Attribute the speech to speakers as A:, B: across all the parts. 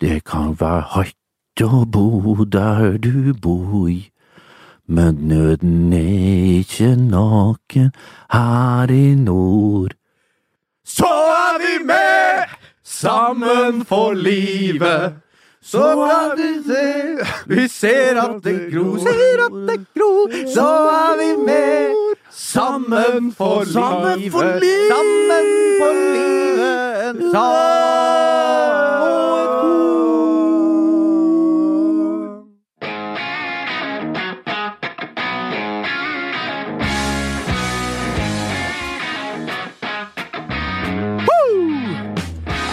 A: Det kan være hardt å bo der du bor, men nøden er ikke naken her i nord.
B: Så er vi med, sammen for livet. Så er vi ser, vi ser at det gror, ser at det gror. Så er vi med, sammen for livet.
A: Sammen for livet.
B: Sammen for livet. En sang og et kor.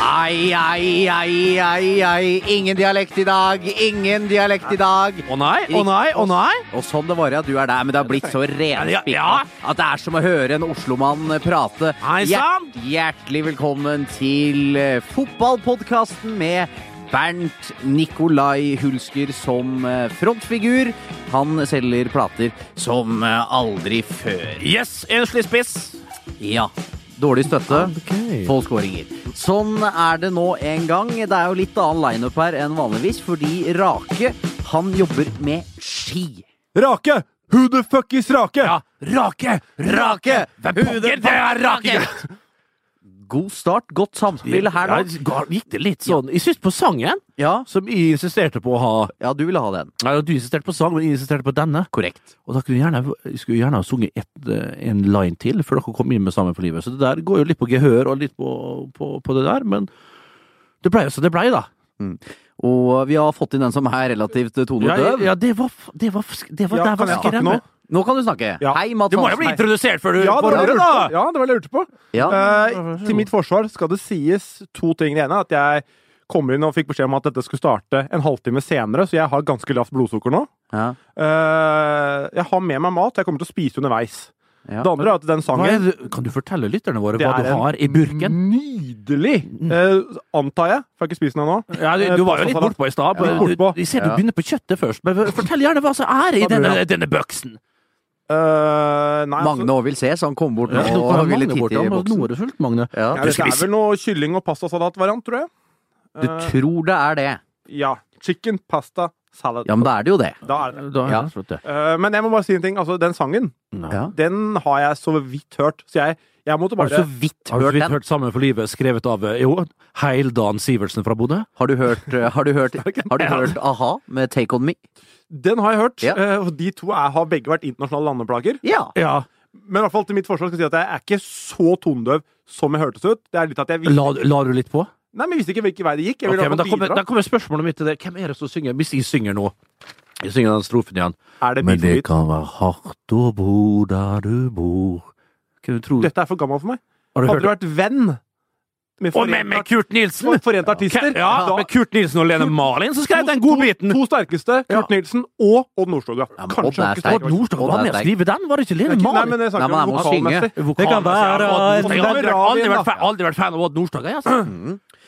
B: Ai, ai, ai, ai, ai. Ingen dialekt i dag, ingen dialekt i dag.
C: Å nei, å nei, å nei!
B: Og sånn det var ja, du er der, men det har blitt så
C: Ja,
B: renspikka
C: ja.
B: at det er som å høre en Oslomann prate.
C: Hei sann!
B: Hjert- Hjertelig velkommen til eh, fotballpodkasten med Bernt Nikolai Hulsker som eh, frontfigur. Han selger plater som eh, aldri før.
C: Yes, enslig spiss.
B: Ja. Dårlig støtte. Få skåringer. Sånn er det nå en gang. Det er jo litt annen lineup her enn vanligvis, fordi Rake, han jobber med ski.
D: Rake! Who the fuck is Rake?
C: Ja, Rake! Rake! Hvem
B: Hudet
C: pokker det er Rake?
B: God start, godt samspill her nå.
C: Ja, ga- gikk det litt sånn Jeg synes på sangen,
B: Ja,
C: som jeg insisterte på å ha
B: ja du ville ha den.
C: Nei, Du insisterte på sang, men jeg insisterte på denne.
B: Korrekt.
A: Og da kunne jeg gjerne, jeg skulle gjerne ha sunget et, eh, en line til før dere kom inn med Sammen for livet. Så det der går jo litt på gehør og litt på, på, på det der, men det blei jo som det blei, da.
B: Og vi har fått inn den som er relativt
A: Ja,
B: tonedøv.
A: ja, det var, f- det var, f- det var,
D: Ja,
A: der var
D: kan jeg snakke
A: skremmet.
D: nå?
B: Nå kan du snakke.
D: Ja.
B: Hei, Mads
C: Du må jo bli
B: Hansen.
C: introdusert før du
D: Ja, det
C: får
D: var det jeg
C: ordet,
D: lurte på.
C: da!
D: Ja, det var det jeg lurte på.
B: Ja.
D: Eh, til mitt forsvar skal det sies to ting. Det ene er at jeg kom inn og fikk beskjed om at dette skulle starte en halvtime senere, så jeg har ganske lavt blodsukker nå.
B: Ja.
D: Eh, jeg har med meg mat, jeg kommer til å spise underveis.
B: Ja.
D: Det andre er at den
A: Hva
D: sangen
A: er, det- kan du fortelle lytterne våre
D: Det
A: hva
D: er
A: du
D: en-
A: har i burken?
D: Nydelig! eh, antar jeg, for jeg har ikke spist den ennå.
C: Ja, du, du var jo litt bortpå i stad.
D: Ja,
C: men
D: bortpå.
C: du- Jeg ser du
B: Ja.
C: begynner på kjøttet først, men fortell gjerne hva som er i
D: Hva blir
C: denne,
D: det?
C: denne bøksen.
D: Eh, nei, altså,
B: Magne òg vil se, så han kom bort nå
A: Ja, nå
B: og
A: kommer
B: ville
A: Magne bort,
B: titte i
A: ja, nå- Nå
B: boksen.
A: er du sulten, Magne.
B: Ja.
D: ja, Det er
C: spiser-
D: vel noe kylling- og pastasalatvariant, tror jeg.
B: Du
D: Eh,
B: tror det er det.
D: ja. Chicken pasta salad.
B: Ja, men da er det jo det.
D: Da er det.
A: Da er
B: Ja.
A: det slutt, det.
D: Eh, men jeg må bare si en ting. Altså, den sangen
B: Ja.
D: den har jeg så vidt hørt. Så jeg, jeg måtte
B: Har du så
D: bare
B: vidt
A: Har du
B: hørt
A: ikke
B: den?
A: hørt Sammen for livet, skrevet av eh, jo, Heildan Sivertsen fra Bodø?
B: Har du hørt, eh, har du hørt, har du hørt A-ha med Take On Me?
D: Den har jeg hørt.
B: Ja.
D: eh, og de to er, har begge vært internasjonale landeplager.
B: Ja.
A: Ja.
D: Men i hvert fall til mitt forsvar skal jeg si at jeg er ikke så tondøv som jeg hørtes ut. Det er litt at jeg visste,
A: La, la du litt på?
D: Nei, men jeg visste ikke hvilken vei det gikk. Jeg ville
A: Ok,
D: i
A: men
D: hvert
A: da
D: fall
A: kommer,
D: bidra.
A: da kommer spørsmålet mitt til det. Hvem er det som synger? Hvis jeg synger nå Jeg synger den strofen igjen.
D: Er det bit for bit?
A: kan være hardt å bo der du bor Kan du tro
D: Dette er for gammelt for meg.
A: Har du hørt
D: Hadde du
A: det?
D: vært venn med
C: Og med, med
D: Forente,
C: Kurt Nilsen!
D: forente Artister
C: Ja,
D: da-
C: med Kurt Nilsen og Lene Malin, så skrev jeg den godbiten!
D: To sterkeste, Kurt Nilsen og Odd Nordstoga.
B: men
D: Kanskje
B: Odd er sterk.
D: han ikke sterk.
A: Odd Nordstoga var med å skrive den, var det ikke Lene
D: Nei,
A: Malin?
D: men jeg
B: Nei,
D: snakker
B: men
D: om
B: han må synge.
D: vokalmessig.
A: Det kan
D: eh,
A: være
C: Jeg har aldri, aldri vært, fan- aldri vært fan av Odd Nordstoga. jeg, Altså.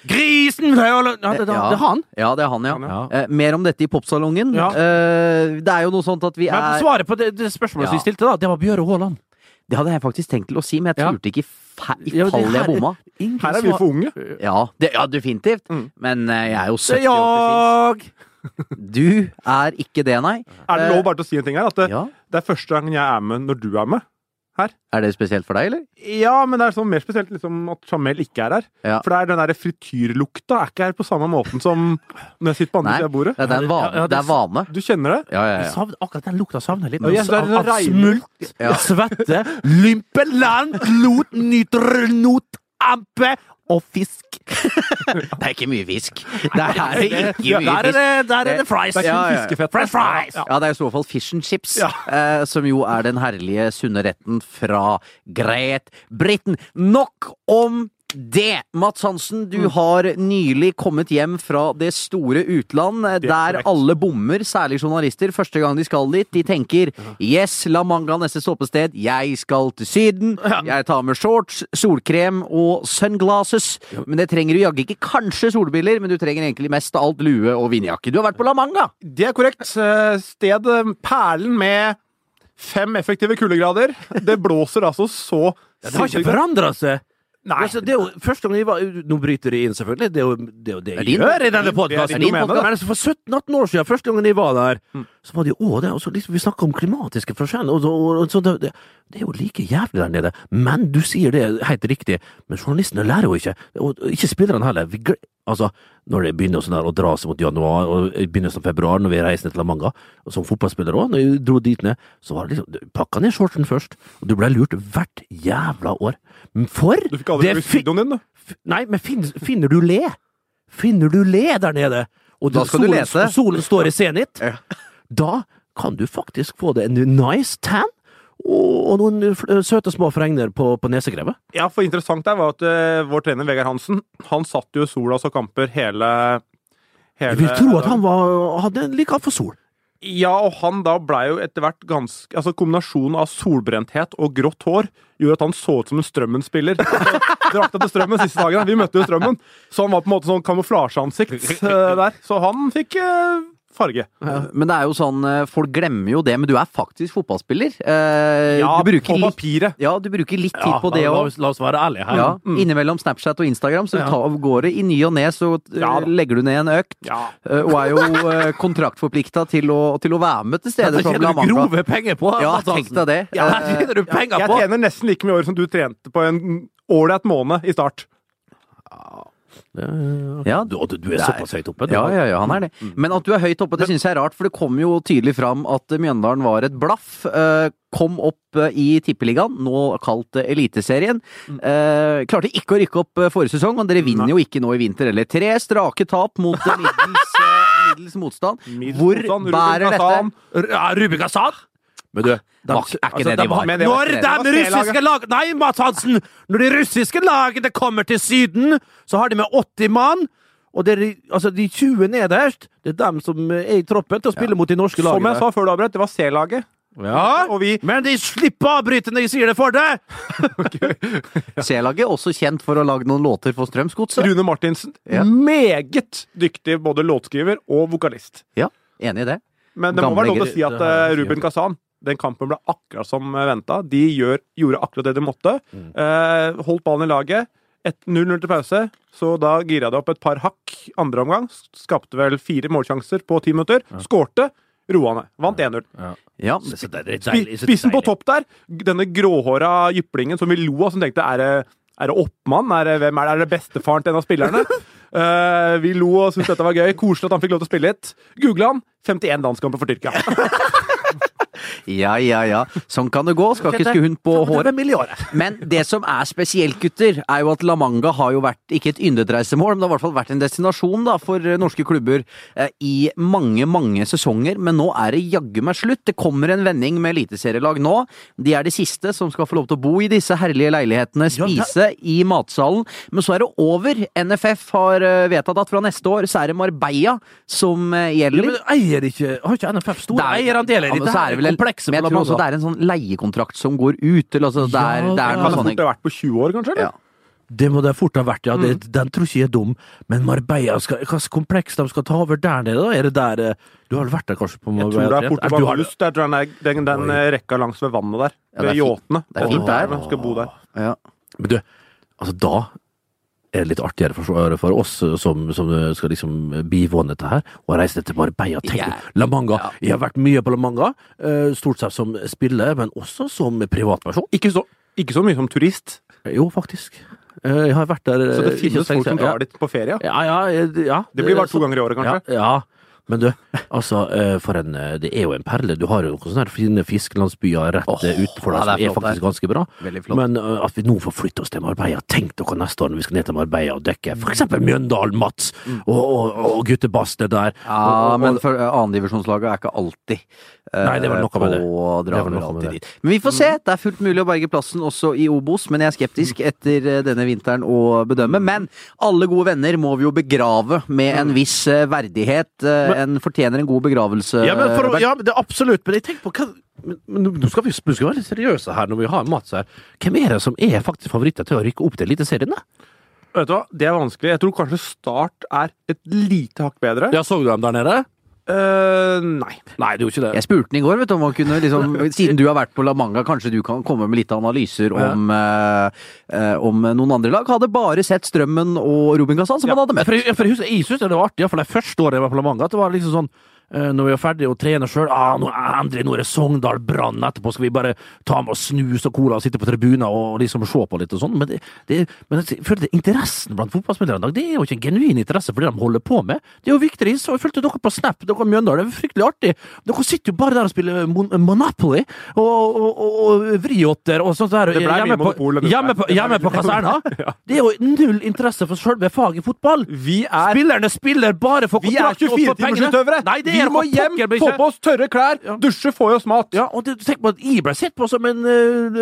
C: Grisen ja, det, det, det
B: Ja.
C: er han.
B: Ja, det er han, ja.
D: Han,
A: ja.
B: Eh, mer om dette i popsalongen.
C: Ja.
B: Eh, det er jo noe sånt at vi
C: Men
B: er
C: svaret på det, det spørsmålet som
B: Ja.
C: jeg stilte, da, det var Bjøre Haaland.
B: Det hadde jeg faktisk tenkt til å si, men jeg
C: Ja.
B: turte ikke i fa- i
C: Ja, det
B: fall jeg
C: her-
B: bomma.
A: Ingen
D: Her er vi
A: svar-
D: for unge.
B: Ja, det, ja definitivt.
D: Mm.
B: Men eh, jeg er jo 70 år
C: Jag!
B: til sinns. Du er ikke det, nei.
D: Er det lov bare til å si en ting her? At det,
B: Ja.
D: det er første gangen jeg er med når du er med.
B: Er det spesielt for deg, eller?
D: Ja, men det er sånn mer spesielt liksom, at Jamel ikke er her.
B: Ja.
D: For det er den der frityrlukta er ikke her på samme måten som når jeg sitter på andre
B: Nei.
D: siden av bordet.
B: Det, det, er,
C: Ja,
B: en vane.
C: ja, det-
B: det er vane.
D: Du kjenner det?
B: Ja, ja,
A: Jeg
B: ja.
A: savner- akkurat den lukta savner jeg litt.
D: Ja, jeg- det er
A: av,
D: sånn
A: av
D: regn-
A: smult,
B: Ja.
A: svette, lympeland, lot, nytrnot, ampe og fisk.
B: Det er ikke mye fisk. Der er det ikke
C: Der
B: mye
C: er
B: fisk.
C: det, der er det fries.
D: Det er ikke
B: Ja, ja, ja.
D: fiskefett.
C: French fries!
D: Ja.
B: Ja, det er i så fall fish and chips,
D: Ja.
B: eh, som jo er den herlige sunne retten fra Great Britain. Nok om det! Mats Hansen, du
D: Mm.
B: har nylig kommet hjem fra det store utland, eh,
D: er
B: der
D: korrekt.
B: alle bommer, særlig journalister, første gang de skal dit. De tenker 'yes, La Manga neste stoppested, jeg skal til Syden', jeg tar med shorts, solkrem og sunglasses. Men det trenger du jaggu ikke. Kanskje solbriller, men du trenger egentlig mest av alt lue og vindjakke. Du har vært på La Manga!
D: Det er korrekt. Eh, Sted eh, Perlen med fem effektive kuldegrader. Det blåser altså så
C: Det har ikke forandra seg.
D: Nei.
A: Altså, det er jo første gang jeg var Nå bryter de inn, selvfølgelig. Det er jo det, er jo det
B: er
A: jeg
B: din-
A: gjør i denne
D: det er
A: podkasten.
D: din domene, da.
A: Men altså, for 17-18 år siden, første gangen jeg var der, så var det jo å, det, er også liksom, Vi snakka om klimatiske forskjeller, og, så- og, og så det, det, det er jo like jævlig der nede. Men du sier det helt riktig. Men journalistene lærer jo ikke. Og og ikke spillerne heller. Vi, gle- altså, når det begynner sånn der å dra seg mot januar og i begynnelsen av februar, når vi reiste til La Manga, og som fotballspiller òg, når vi dro dit ned, så var det liksom du Pakka ned shortsen først, og du ble lurt hvert jævla år. For
D: Du fikk aldri
A: det
D: brukt
A: fi-
D: videoen din, du.
A: F- Nei, men fin, finner du le? Finner du le der nede? Og
B: Da skal du
A: solen,
B: lese.
A: og Solen står i senit.
B: Ja.
A: Da kan du faktisk få deg en nice tan og, og noen eh, søte små fregner på, på nesegrevet.
D: Ja, for interessant der var at eh, vår trener Vegard Hansen, han satt jo sola så kamper hele
A: Jeg vil tro at han var, hadde like alt for sol.
D: Ja, og han da blei jo etter hvert ganske Altså, kombinasjonen av solbrenthet og grått hår gjorde at han så ut som en Strømmen-spiller. Så Drakta til Strømmen siste dagen. Vi møtte jo Strømmen. Så han var på en måte sånn kamuflasjeansikt eh, der. Så han fikk eh, farge.
B: Men det er jo sånn, eh, folk glemmer jo det, men du er faktisk fotballspiller. Eh,
D: Ja,
B: du bruker
D: på
B: litt-
D: papiret.
B: Ja, du bruker litt tid på det
A: la,
B: òg.
A: oss, la oss være ærlige her.
B: Ja, Innimellom Snapchat og Instagram, så
A: sånn. Ja.
B: ta av gårde. I ny og ne så eh,
D: Ja da.
B: legger du ned en økt,
D: Ja.
B: eh, og er jo eh, kontraktforplikta til, å- til å være med til
A: Dette
B: steder som La
A: tjener du
B: Manga.
A: grove penger på.
B: sånn Ja,
A: Mats
B: tenk
A: Hansen.
B: deg det.
A: Ja,
B: Eh,
A: her tjener du penger
D: Jeg
A: på!
D: tjener nesten like mye i året som du trente på en ålreit måned i start.
B: Ja,
A: Du, du, du er såpass høyt oppe. du.
B: Ja, ja, ja, han er det.
D: Mm,
B: Men at du er høyt oppe, det syns jeg er rart, for det kom jo tydelig fram at Mjøndalen var et blaff. eh, Kom opp eh, i Tippeligaen, nå kalt eh, Eliteserien.
D: Mm.
B: Eh, Klarte ikke å rykke opp eh, forrige sesong, men dere vinner jo ikke nå i vinter heller. Tre strake tap mot eh, middels, eh, middels motstand.
D: Middels
B: Hvor
D: motstand, Sånn, Ruben
B: bærer dette?
D: Kazan.
A: R- ja, Rubik Assad? Men du, altså, de-
B: Var ikke- er ikke det de
A: de-
B: var?
A: Når
B: Men
D: det var ikke det. Det var
A: de russiske lag Nei, Mats Hansen! Når de russiske lagene kommer til Syden, så har de med 80 mann. Og det er, de- altså, de 20 nederst, det er dem som er i troppen til å spille mot de norske lagene.
D: Som jeg sa før du avbrøt, det var C-laget.
A: Ja,
D: Og vi
A: men de slipper å avbryte når jeg sier det for deg!
B: C-laget, også kjent for å ha lagd noen låter for Strømsgodset.
D: Rune Martinsen,
B: Ja.
D: meget dyktig både låtskriver og vokalist.
B: Ja, enig i det.
D: Men det må
B: Gamle
D: være lov til å
B: gre-
D: si at
A: det her er
D: eh,
A: fint.
D: Ruben Kazan den kampen ble akkurat som venta. De gjør, gjorde akkurat det de måtte.
B: Mm.
D: Eh, holdt ballen i laget. Et 0-0 til pause, så da gira det opp et par hakk andre omgang. s- Skapte vel fire målsjanser på ti minutter. Skårte. Roa ned. Vant 1-0.
B: Ja,
A: Så det er
D: Spi-
A: deilig, så
D: Spissen på
A: deilig.
D: topp der. Denne gråhåra jyplingen som vi lo av, som tenkte er det, er det Oppmann? Er det, hvem er det, er det bestefaren til en av spillerne? Eh, vi lo og syntes dette var gøy. Koselig at han fikk lov til å spille litt. Googla han. 51 landskamper for Tyrkia.
B: ja, ja, ja. Sånn kan det gå. Skal ikke skue hund på håret. Men det som er spesielt, gutter, er jo at La Manga har jo vært ikke et yndetreisemål, men det har i hvert fall vært en destinasjon da, for eh, norske klubber eh, i mange, mange sesonger. Men nå er det jaggu meg slutt. Det kommer en vending med eliteserielag nå. De er de siste som skal få lov til å bo i disse herlige leilighetene, spise i matsalen. Men så er det over. NFF har eh, vedtatt at fra neste år så er det Marbella som eh,
A: Ja,
B: gjelder.
A: men eier ikke, Har ikke NFF store
B: Det er-
A: eierandeler i
B: Ja, men
A: det
B: så er det
A: her
B: vel en-
A: komplekset?
B: Men jeg
A: på
B: tror
A: La
B: også det
A: Manga?
B: er en sånn leiekontrakt som går ut, eller altså det er,
A: Ja,
B: det er
A: ja.
B: noe
D: Han hadde
B: sånn
D: fort vært på 20 år, kanskje? eller?
B: Ja.
A: Det må det fort ha vært, ja. Det,
D: Mm.
A: Den tror ikke jeg er dum. Men Marbella, skal, hva slags kompleks de skal ta over der nede, da? Er det der eh, Du har vel vært der, kanskje? på
D: Jeg tror
A: Marbella
D: det er
A: Triett? Er du
D: Portugal
A: har-
D: Rust. Jeg tror den, er- den, den eh, rekka langs ved vannet der.
B: Ja, det er
D: ved
B: fint.
D: yachtene.
B: Det er fint
D: Og-
B: der.
D: Hvem skal bo der?
B: Ja.
A: Men du, altså da er det litt artigere for, for oss eh, som, som skal liksom bivåne dette her, å reise til Marbella. Tenk,
B: Jeg-
A: La Manga.
B: Ja.
A: Jeg har vært mye på La Manga, eh, stort sett som spiller, men også som privatperson.
D: Ikke så, ikke så mye som turist.
A: Jo, faktisk. Eh, Jeg har vært der
D: Så det
A: eh, ikke
D: finnes folk som
A: lenge siden.
D: drar dit på ferie.
A: Ja, ja, ja, ja.
D: Det blir bare to ganger i året, kanskje.
A: Ja, ja. Men du, altså, eh, for en, eh, det er jo en perle. Du har jo noen sånne her fine fiskelandsbyer rett
B: Åh,
A: eh, utenfor deg
B: ja,
A: som
B: det er
A: er
B: flott
A: faktisk ganske bra.
B: Veldig flott.
A: Men eh, at vi nå får flytte oss til Marbella, tenk dere neste år når vi skal ned til Marbella og dekke for eksempel Mjøndalen, Mats, og, og, og guttebastet der. og,
B: Ja,
A: og,
B: men for eh, andredivisjonslaget er ikke alltid eh,
A: Nei, det var noe med det.
B: på
A: Det var
B: Draver
A: noe med
B: alltid
A: det. Mm.
B: dit. Men vi får se. Det er fullt mulig å berge plassen også i Obos, men jeg er skeptisk etter eh, denne vinteren å bedømme. Men alle gode venner må vi jo begrave med
A: Mm.
B: en viss eh, verdighet. Eh, En fortjener en god begravelse.
A: ja, men for, å-
B: Robert.
A: ja, men det er absolutt, men jeg tenker på hva men, men nå- nå skal vi nå skal vi være litt seriøse her når vi har Mats her. Hvem er det som er faktisk favoritter til å rykke opp til Eliteserien, da?
D: Vet du hva? Det er vanskelig. Jeg tror kanskje Start er et lite hakk bedre.
A: Ja, så du dem der nede?
D: Eh, nei.
A: Nei, det gjorde ikke det.
B: Jeg spurte den i går, vet du, om han kunne liksom Siden du har vært på La Manga, kanskje du kan komme med litt analyser om, eh, eh, om noen andre lag? Hadde bare sett Strømmen og Robin Gazan som han hadde møtt.
A: For jeg, for jeg husker, jeg synes det var artig, iallfall det første året jeg var på La Manga, at det var liksom sånn eh, når vi var ferdige og trener sjøl ah, nå, Endelig, nå er det Sogndal Brann etterpå. Skal vi bare ta med oss snus og cola og sitte på tribunen og liksom se på litt og sånn? Men, det, det, men jeg føler det, interessen blant fotballspillere i dag, det er jo ikke en genuin interesse for det de holder på med. Det er jo viktigere. Så jeg fulgte dere på Snap, dere i Mjøndalen. Det er fryktelig artig. Dere sitter jo bare der og spiller Mon Monopoly og, og, og, og vriåtter og sånt der.
D: Det ble mye
A: hjemme på,
D: Monopol, det ble-
A: hjemme på,
D: det ble
A: hjemme på
D: mye
A: kaserna. Det er jo null interesse for selve faget fotball.
D: Vi er
A: Spillerne spiller bare for
D: vi er
A: kontrakt og for pengene.
D: 24-timersutøvere!
A: Nei, det
D: Vi
A: er
D: må
A: for
D: hjem,
A: pokker meg
D: få
A: ikke.
D: på oss tørre klær, dusje, få i oss mat.
A: Ja, og det, tenk på at Ibra sitter på som en eh,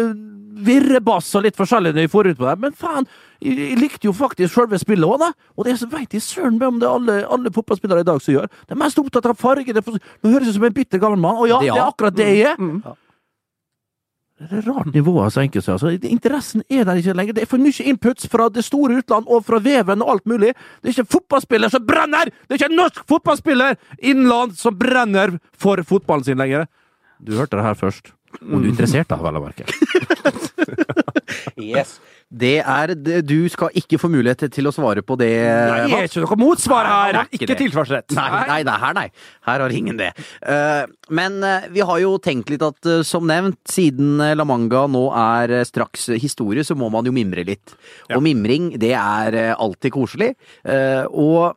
A: virrebass og litt forskjellig når vi får ut på det, men faen, jeg, jeg likte jo faktisk selve spillet òg, da. Og det er så veit de søren meg om det er alle, alle fotballspillere i dag som gjør. De er mest opptatt av farge. Det er for- Nå høres jeg ut som en bitter gammel mann, og ja,
B: Det, ja.
A: det er akkurat det jeg er. Det er rart nivå av senkelse. Altså. Interessen er der ikke lenger. Det er for mye inputs fra det store utland og fra veven og alt mulig. Det er ikke en fotballspiller som brenner! Det er ikke en norsk fotballspiller innenlands som brenner for fotballen sin lenger. Du hørte det her først. Og du er interessert, da, vel å merke.
B: Yes. Det er det- Du skal ikke få mulighet til å svare på det.
A: Det er ikke noe motsvar her!
B: Nei, ikke det.
A: tilsvarsrett.
B: Nei, nei, nei, her nei. Her har ingen det. Eh, men eh, vi har jo tenkt litt at eh, som nevnt, siden eh, La Manga nå er eh, straks eh, historie, så må man jo mimre litt. Og mimring, det er eh, alltid koselig. Eh, og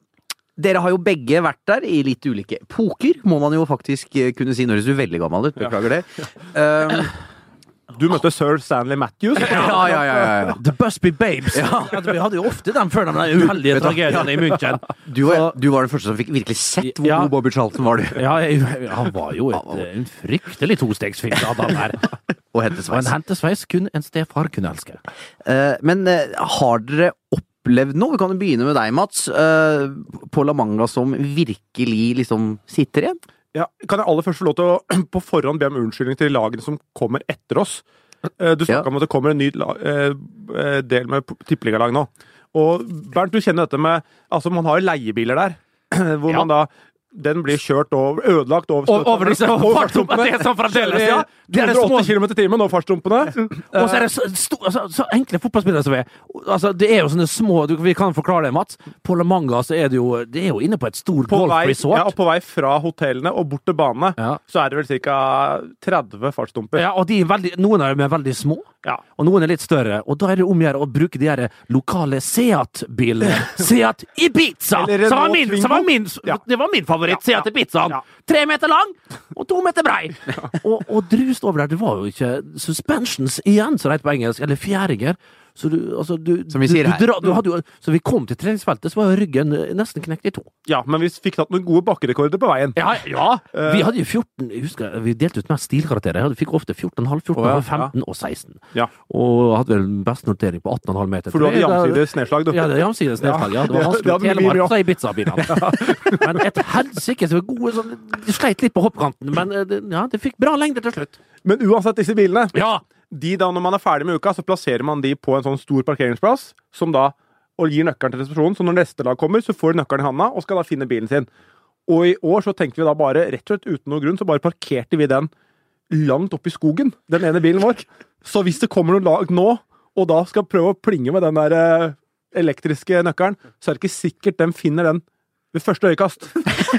B: dere har jo begge vært der i litt ulike epoker, må man jo faktisk eh, kunne si. Nå høres du veldig gammel ut, beklager det. Eh,
D: Du møtte sir Stanley Matthews.
B: ja, ja, ja, ja, ja.
A: The Busby Babes. At vi hadde jo ofte dem før de uheldige tragediene i München.
B: Du, var- du var den første som fikk virkelig sett hvor
A: Ja.
B: god Bobby Charlton var, du.
A: Ja, jeg, han var jo et, en fryktelig tostegsfinte, han der.
B: Og hente
A: Og
B: sveis.
A: en hentesveis kun en stefar kunne elske.
B: Eh, men eh, har dere opplevd noe? Vi kan jo begynne med deg, Mats. eh, på La Manga som virkelig liksom sitter igjen?
D: Ja, kan jeg aller først få lov til å på forhånd be om unnskyldning til lagene som kommer etter oss? Eh, Du snakka
B: Ja.
D: om at det kommer en ny la- eh, eh, del med p- tippeligalag nå. Og Bernt, du kjenner dette med Altså, man har jo leiebiler der, hvor
A: Ja.
D: man da Den blir kjørt over Ødelagt over
A: Og over disse fartstumpene! Det er sånn fremdeles, ja! Det er det små
D: 280 km i timen over fartstumpene.
A: Og så er det så, sto- altså, så enkle fotballspillere som vi er. Altså, det er jo sånne små du, Vi kan forklare det, Mats. På La Manga så er det jo Det er jo inne på et stort
D: Eh, På vei, ja, og
A: golfresort.
D: på vei fra hotellene og bort til banene
A: Ja.
D: så er det vel ca. 30 fartsdumper.
A: Ja, og de er veldig, noen av dem er veldig små,
D: Ja.
A: og noen er litt større. Og da er det om å gjøre å bruke de her lokale Seat-bilene. Seat Ibiza!
D: Eller Renault
A: Som var min, som var
D: Twingo.
A: min,
D: Ja.
A: det var min favoritt,
D: Ja, ja,
A: Seat Ibizaen.
D: ja.
A: Tre meter lang og to meter brei! Og, og drust over der, det var jo ikke suspensions igjen, som det heter på engelsk, eller fjæringer. Så du, altså, du,
B: Som vi sier
A: du,
B: her.
A: du, dra, du hadde jo, Så vi kom til treningsfeltet, så var jo ryggen eh, nesten knekt i to.
D: ja, men vi fikk tatt noen gode bakkerekorder på veien.
A: Ja,
D: Eh.
A: Vi hadde jo 14 jeg husker, Vi delte ut mest stilkarakterer. Jeg hadde- fikk ofte 14,5, 14,5, 15 og 16.
D: Ja.
A: Og hadde vel best notering på 18,5 meter.
D: For du hadde
A: Det-
D: jamsides nedslag, du.
A: Ja, det er jamsides nedslag. Ja. Det var
D: Ja,
A: vanskelig
D: det
A: å
D: hadde vi mye
A: telemark
D: av.
A: seg i pizzabilene. Men et helsike så gode sånn De sleit litt på hoppkanten, men eh, det- ja, det fikk bra lengde til slutt.
D: Men uansett, disse bilene
A: Ja!
D: de da, Når man er ferdig med uka, så plasserer man de på en sånn stor parkeringsplass, som da, og gir nøkkelen til resepsjonen. Så når neste lag kommer, så får de nøkkelen i handa og skal da finne bilen sin. Og i år så tenkte vi da bare, rett og slett uten noen grunn, så bare parkerte vi den langt opp i skogen, den ene bilen vår. Så hvis det kommer noen lag nå, og da skal prøve å plinge med den der eh, elektriske nøkkelen, så er det ikke sikkert de finner den ved første øyekast.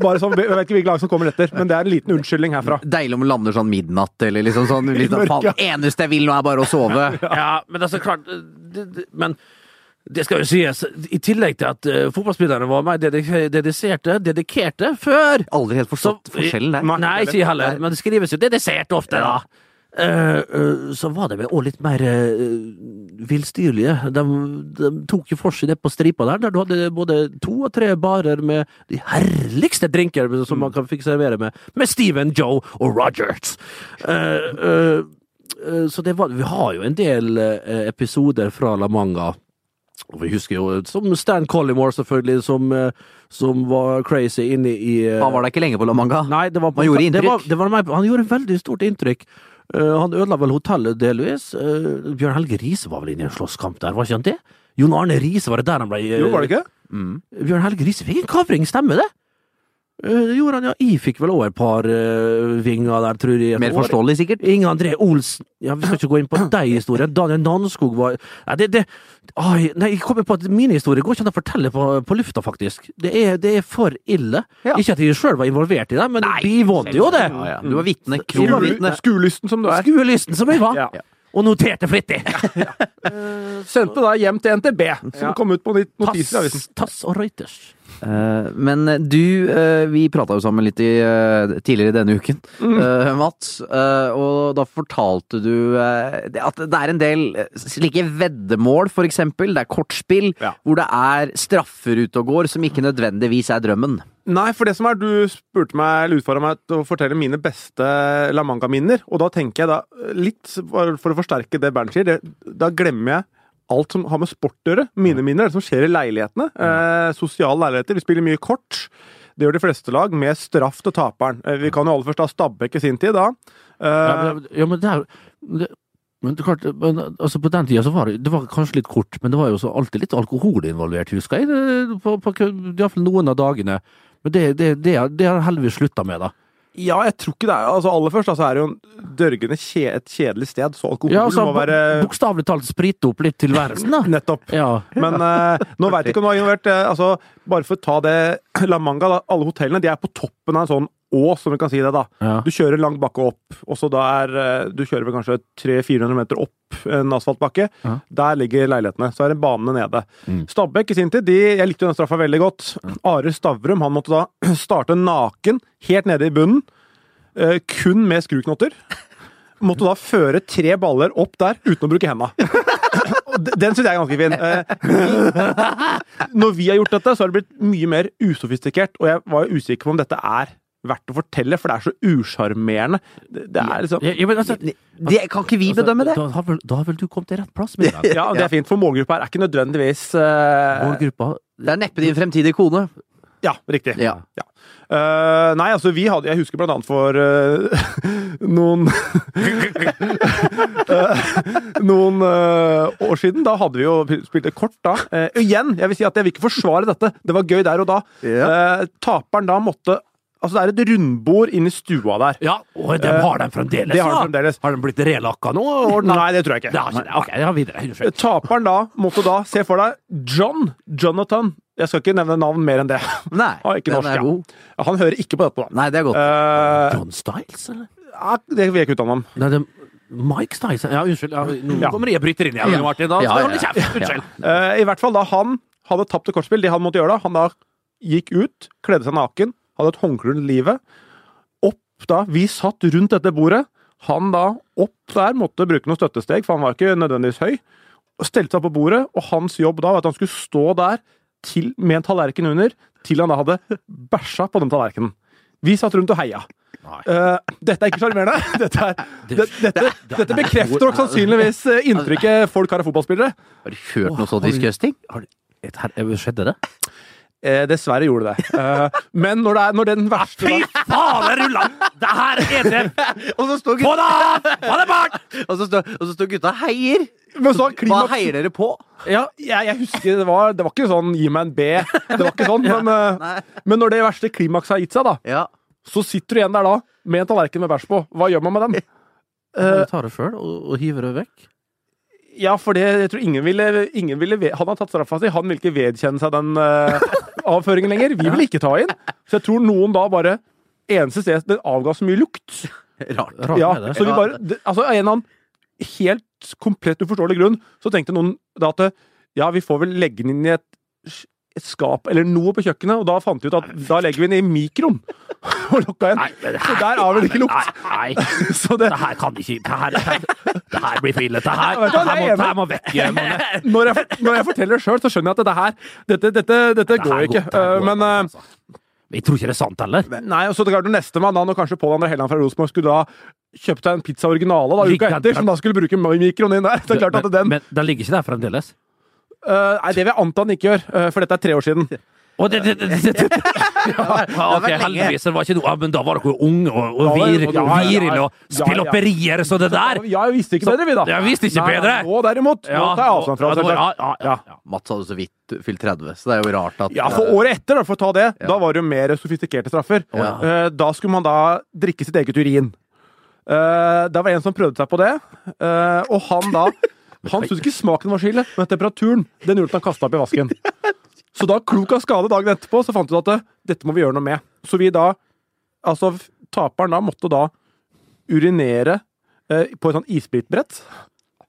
D: Bare sånn, Jeg vet ikke hvilket lag som kommer etter, men det er en liten unnskyldning herfra.
B: Deilig om det lander sånn midnatt, eller liksom sånn litt sånn, faen, Eneste jeg vil nå, er bare å sove.
A: Ja, men altså, klart eh, det, det, Men det skal jo sies, i tillegg til at eh, fotballspillerne var mer dedikerte, dediserte- dedikerte før
B: Aldri helt forstått
A: Så-
B: forskjellen der.
A: Nei, ikke jeg heller, men det skrives jo dedisert ofte, da. Eh, eh, så var det vel òg litt mer eh, villstyrlige. De, de tok jo for seg det på stripa der, der du hadde både to og tre barer med de herligste drinker som man kan fikk servere med, med Steven, Joe og Rogers. Eh, eh, eh, så det var, vi har jo en del eh, episoder fra La Manga. Og vi husker jo eh, som Stan Collymore, selvfølgelig, som, eh, som var crazy inne i eh,
B: Han var da ikke lenge på La Manga.
A: Nei, det var på
B: Han gjorde
A: Det var,
B: inntrykk.
A: det var meg, han gjorde veldig stort inntrykk. Eh, han ødela vel hotellet delvis. Eh, Bjørn Helge Riise var vel inne i en slåsskamp der, var ikke han det? Jon Arne Riise, var det der han ble eh,
D: Jo, var det ikke?
A: Bjørn Helge Riise fikk en kavring, stemmer det? Eh, Det gjorde han, ja. Jeg fikk vel òg et par eh, vinger der, tror jeg.
B: Mer forståelig, sikkert.
A: Inge André Olsen Ja, Vi skal ikke gå inn på de historiene. Daniel Nanskog var Nei, det, det ai, Nei, jeg kommer på at mine historier går ikke an å fortelle på, på lufta, faktisk. Det er, det er for ille.
B: Ja.
A: Ikke at jeg sjøl var involvert i det, men
B: Nei,
A: vi vant jo det.
B: Ja, ja. Du var vitne.
D: Skole,
B: Kronvitne.
D: skuelysten som du er.
A: Skuelysten som jeg var.
D: Ja.
A: Og noterte flittig!
D: Sendte deg hjem til NTB, som kom ut på nytt notiser i avisen.
A: Tass, tass og Reuters.
B: Eh, men du, eh, vi prata jo sammen litt i, eh, tidligere denne uken, eh, Mats. eh, og da fortalte du eh, det- at det er en del eh, slike veddemål, for eksempel. Det er kortspill
D: Ja.
B: hvor det er straffer ute og går som ikke nødvendigvis er drømmen.
D: Nei, for det som er, du spurte meg, eller utfordra meg til å fortelle mine beste La Manga-minner. Og da tenker jeg da, litt for for å forsterke det Bernt sier, det, da glemmer jeg alt som har med sport å gjøre. Mine minner er det som skjer i leilighetene. Eh, sosiale leiligheter. Vi spiller mye kort. Det gjør de fleste lag, med straff til taperen. Eh, vi kan jo aller først ha Stabæk i sin tid, da. Eh,
A: Ja, men, ja, men det er jo det, men det, er klart, men, altså På den tida så var det, det var kanskje litt kort, men det var jo så alltid litt alkohol involvert, husker jeg. det- På, på, Iallfall noen av dagene. Men det, det, det, er- det har heldigvis slutta med, da.
D: ja, jeg tror ikke det er altså Aller først da, så er det jo en dørgende kje, et kjedelig sted, så alkohol
A: Ja, altså,
D: må være
A: Bokstavelig talt sprite opp litt tilværelsen, da.
D: Nettopp.
A: Ja.
D: Men eh, nå veit jeg ikke om du har involvert eh, altså, Bare for å ta det La Manga, da, alle hotellene de er på toppen av en sånn å, som vi kan si det, da.
A: Ja.
D: Du kjører lang bakke opp, og så da er eh, Du kjører vel kanskje 300-400 meter opp en asfaltbakke.
A: Ja.
D: Der ligger leilighetene. Så er det banene nede.
A: Mm.
D: Stabæk i sin tid, de, jeg likte jo den straffa veldig godt. Are Stavrum han måtte da starte naken helt nede i bunnen, eh, kun med skruknotter. Måtte da føre tre baller opp der uten å bruke henda. Og d- Den syns jeg er ganske fin. Eh, vi- Når vi har gjort dette, så har det blitt mye mer usofistikert, og jeg var jo usikker på om dette er verdt å fortelle, for det er så usjarmerende. Det, det er liksom
A: Ja, ja, men altså,
B: Det, kan ikke vi bedømme det?
A: Da har, vel, da har vel du kommet til rett plass med den.
D: Ja, det er fint, for målgruppa her er ikke nødvendigvis eh,
A: Målgruppa
B: Det er neppe din fremtidige kone.
D: Ja, riktig.
B: Ja.
D: Eh, nei, altså vi hadde Jeg husker blant annet for eh, noen Eh, Noen eh, år siden. Da hadde vi jo spilt et kort, da. Eh, igjen, jeg vil si at jeg vil ikke forsvare dette. Det var gøy der og da. Eh, taperen da måtte Altså, det er et rundbord inn i stua der.
A: Ja, og de
D: Eh,
A: har den fremdeles,
D: det har
A: da.
D: de fremdeles.
A: Har den blitt relakka nå? og-
D: Nei, det tror
A: Det
D: jeg ikke. Eh,
A: har ikke det. Ok, ja, videre. Unnskyld.
D: Taperen da måtte da Se for deg John. Jonathan. Jeg skal ikke nevne navn mer enn det.
B: Nei,
D: Ah, ikke
B: den
D: norsk,
B: er
D: ja.
B: god.
D: Han hører ikke på dette. nå.
B: Nei, det er godt.
D: Eh,
A: John Styles, eller?
D: ja, det vil jeg ikke uttale meg om.
A: Nei, det Mike Styles Ja, unnskyld. Ja, nå
D: Ja.
A: kommer jeg og bryter inn igjen, Martin. Da.
B: Ja,
A: Så
B: ja,
A: hold
B: ja.
A: kjeft. Unnskyld.
D: Eh, I hvert fall da han hadde tapt et kortspill, det han måtte gjøre da, han da gikk ut, kledde seg naken, hadde et håndkle rundt livet, opp da, vi satt rundt dette bordet, han da opp der måtte bruke noen støttesteg, for han var ikke nødvendigvis høy, og stelte seg på bordet, og hans jobb da var at han skulle stå der til, med en tallerken under, til han da hadde bæsja på den tallerkenen. Vi satt rundt og heia. Eh, dette er ikke sjarmerende. Dette, er- det, dette, dette bekrefter nok sannsynligvis eh, inntrykket folk har av fotballspillere.
B: Har du hørt noe
A: har
B: så
A: du-
B: disgusting?
A: Et her- eh, Skjedde det?
D: Eh, dessverre gjorde det. Eh, men når, det er, når den verste
C: Fy faen, det rulla! Det her er det
B: Og så står
C: Få
B: gutta,
C: det av! Få det bort!
B: og så står, og så står gutta og heier!
D: Men så har
B: Hva
D: klimaks
B: heier dere på?
D: ja, jeg, jeg husker det var, det var ikke sånn 'gi meg en B'. Det var ikke sånn, men, eh, men når det verste klimakset har gitt seg, da,
B: Ja.
D: så sitter du igjen der da med en tallerken med bæsj på. Hva gjør man med den?
A: Du
D: Eh,
A: tar det sjøl og, og hiver det vekk?
D: ja, for det, jeg tror ingen ville, ingen ville ved, Han har tatt straffa si, han vil ikke vedkjenne seg den eh, avføringen lenger. Vi vil ikke ta inn. Så jeg tror noen da bare Eneste sted det avga så mye lukt.
B: Rart.
A: Rart
D: Ja,
A: er det.
D: så vi bare, det- altså Av en eller annen helt komplett uforståelig grunn, så tenkte noen da at ja, vi får vel legge den inn i et, et skap eller noe på kjøkkenet, og da fant vi ut at da legger vi den i mikroen og lukka igjen. Så der er vel ikke lukt.
A: Nei, nei,
D: Så det,
A: det her kan ikke Det her, det her blir for ille. Det her,
D: vet
A: det her,
D: du hva,
A: må,
D: jeg er
A: det her må vekk. Jeg må, det
D: når, jeg, når jeg forteller det sjøl, så skjønner jeg at dette her Dette, dette, dette går
A: her
D: ikke.
A: det her
D: Eh,
A: går
D: Men
A: ikke,
D: eh,
A: altså. Jeg tror ikke det er sant heller.
D: Nei, og så det klart, neste mann, han og kanskje Pål André Helland fra Rosenborg, skulle da kjøpt seg en pizza originale da, uka
A: Ligger-
D: etter, som da skulle bruke mikroen inn der. Så det er klart at den
A: Men, men den ligger ikke der fremdeles?
D: Eh, nei, det vil jeg anta han ikke gjør, eh, for dette er tre år siden.
A: Å, det, det, det, det, det,
C: Ja, ok,
B: vært lenge.
C: heldigvis. Det var ikke noe, ja, men da var dere jo unge og, og
D: Da var-
C: vir,
D: ja, ja, ja.
C: virile og spilloperier, så det der
D: Ja, vi visste ikke bedre, vi, da.
C: Jeg visste ikke
D: Nei,
C: bedre!
D: Nå derimot. Nå tar jeg avstand fra
C: ja, det.
D: det.
C: Var, ja, ja, ja.
B: Mats hadde så vidt fylt 30, så det er jo rart at
D: Ja, for året etter, da, for å ta det, da var det jo mer sofistikerte straffer.
B: Ja.
D: Eh, Da skulle man da drikke sitt eget urin. Eh, Det var en som prøvde seg på det, eh, og han da Han syntes ikke smaken var så ille, men temperaturen den gjorde at han kasta opp i vasken. Så da, klok av skade dagen etterpå, så fant vi ut at eh, dette må vi gjøre noe med. Så vi da Altså, f- taperen da måtte da urinere eh, på et sånt isbitbrett.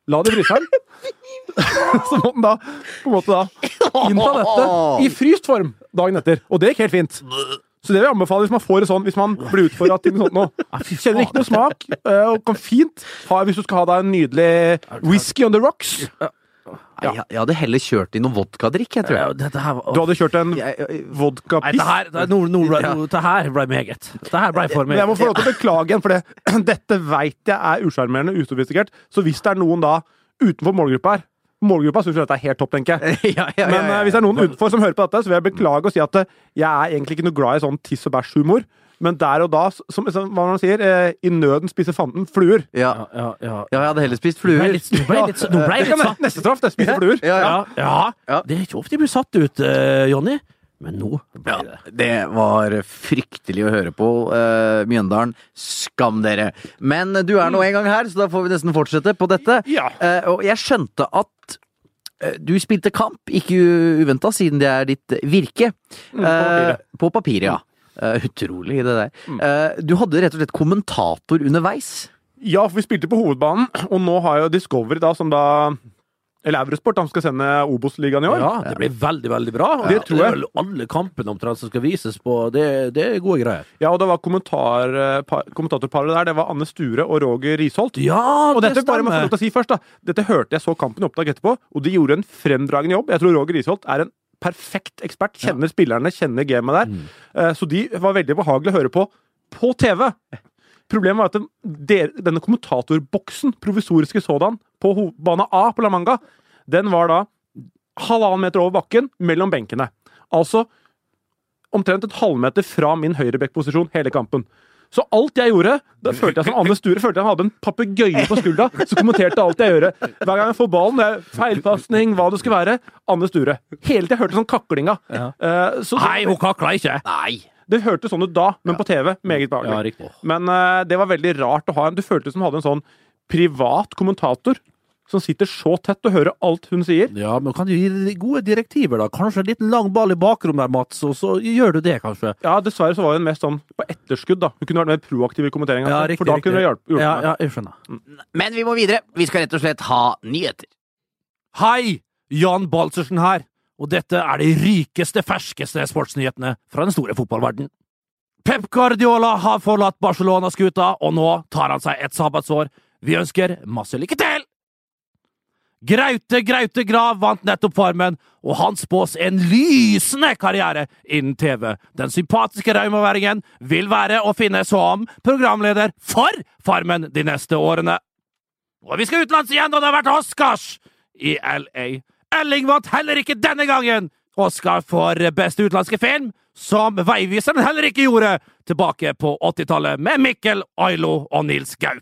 D: La det i fryseren. Så måtte han da på en måte da innta dette i fryst form dagen etter. Og det gikk helt fint. Så det vil jeg anbefale hvis man får det sånn, hvis man blir utfordra til noe sånt nå. Kjenner ikke noe smak, eh, og kan fint ha hvis du skal ha deg en nydelig whisky on the rocks.
B: Nei, eh, jeg, jeg hadde heller kjørt i noe vodkadrikk, jeg tror jeg.
A: Dette her var
D: Du hadde kjørt en
B: Jeg- jeg-
C: Nei, det
D: vodkapiss.
C: her, det, no, no,
B: Ja.
C: no, det her ble meget. Det her ble for
D: Men jeg må
C: meget.
D: få lov til å beklage igjen, for det, dette veit jeg er usjarmerende og usofistikert. Så hvis det er noen da utenfor målgruppa her Målgruppa syns dette er helt topp, tenker jeg.
B: ja, ja, ja,
D: Men eh,
B: ja.
D: hvis det er noen utenfor som hører på dette, så vil jeg beklage og si at eh, jeg er egentlig ikke noe glad i sånn tiss og bæsj-humor. Men der og da, s- som, som hva man sier, eh, i nøden spiser fanden fluer.
B: ja.
C: Ja, ja.
B: ja, jeg hadde heller spist
C: Du ble
B: fluer.
C: litt, du ble litt, du ble
D: Det
C: litt
D: kan være
C: satt.
D: neste straff, det. Spise fluer.
B: Ja, ja.
C: Ja, ja.
B: Ja.
A: sånn. Det er ikke ofte jeg blir satt ut, eh, Jonny, men nå ble det.
B: Det var fryktelig å høre på, eh, Mjøndalen. Skam dere! Men du er nå en gang her, så da får vi nesten fortsette på dette.
D: Ja.
B: Eh, og jeg skjønte at eh, du spilte kamp, ikke uventa, siden det er ditt virke.
D: på papiret.
B: Eh, på papiret, ja. Eh, utrolig, det der. Eh, du hadde rett og slett kommentator underveis.
D: Ja, for vi spilte på hovedbanen, og nå har jo Discovery, da, som da Eller Eurosport, de skal sende Obos-ligaen i år.
A: Ja, det blir veldig, veldig bra. Og
D: Det tror jeg.
A: er vel alle kampene omtrent som skal vises på, det, det er gode greier.
D: Ja, og det var kommentar, pa- kommentatorparet der. Det var Anne Sture og Roger Risholt.
A: Ja,
D: Og dette bare må jeg få lov til å si først da Dette hørte jeg så kampen i opptak etterpå, og de gjorde en fremdragende jobb. Jeg tror Roger Risholt er en perfekt ekspert. Kjenner spillerne, kjenner gamet der. Eh, Så de var veldig behagelige å høre på på TV. Problemet var at den, der, denne kommentatorboksen, provisoriske sådan, på ho- bane A på La Manga, den var da halvannen meter over bakken mellom benkene. Altså omtrent et halvmeter fra min høyrebekkposisjon hele kampen. Så alt jeg gjorde, da følte jeg som Anne Sture følte jeg han hadde en papegøye på skuldra som kommenterte alt jeg gjorde. Hver gang jeg får ballen, det er feilpasning, hva det skulle være. Anne Sture. Hele tida hørte sånn kaklinga. Eh, så
C: Nei, hun kakla ikke!
B: Nei!
D: det hørtes sånn ut da, men på TV meget
A: Ja,
D: behagelig.
A: riktig.
D: Men eh, det var veldig rart å ha en Du føltes som du hadde en sånn privat kommentator som sitter så tett og hører alt hun sier.
A: Ja, men kan du gi de gode direktiver, da? Kanskje en liten lang ball i bakrommet der, Mats, og så gjør du det, kanskje?
D: Ja, dessverre så var hun mest sånn på etterskudd, da. Hun kunne vært mer proaktiv i kommenteringa,
A: Ja,
D: for da kunne hun hjulpet hjulpet
A: Ja,
D: meg.
A: ja, jeg skjønner.
B: Men vi må videre. Vi skal rett og slett ha nyheter.
C: Hei! Jan Baltzersen her, og dette er de rikeste, ferskeste sportsnyhetene fra den store fotballverden. Pep Guardiola har forlatt Barcelona-skuta, og nå tar han seg et sabbatsår. Vi ønsker masse lykke til! Graute Graute Grav vant nettopp Farmen, og han spås en lysende karriere innen TV. Den sympatiske raumaværingen vil være å finne som programleder for Farmen de neste årene. Og vi skal utenlands igjen, og det har vært Oscars i LA. Elling vant heller ikke denne gangen! Oscar for beste utenlandske film, som Veiviseren heller ikke gjorde, tilbake på 80-tallet med Mikkel Ailo og Nils Gaup.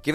E: Give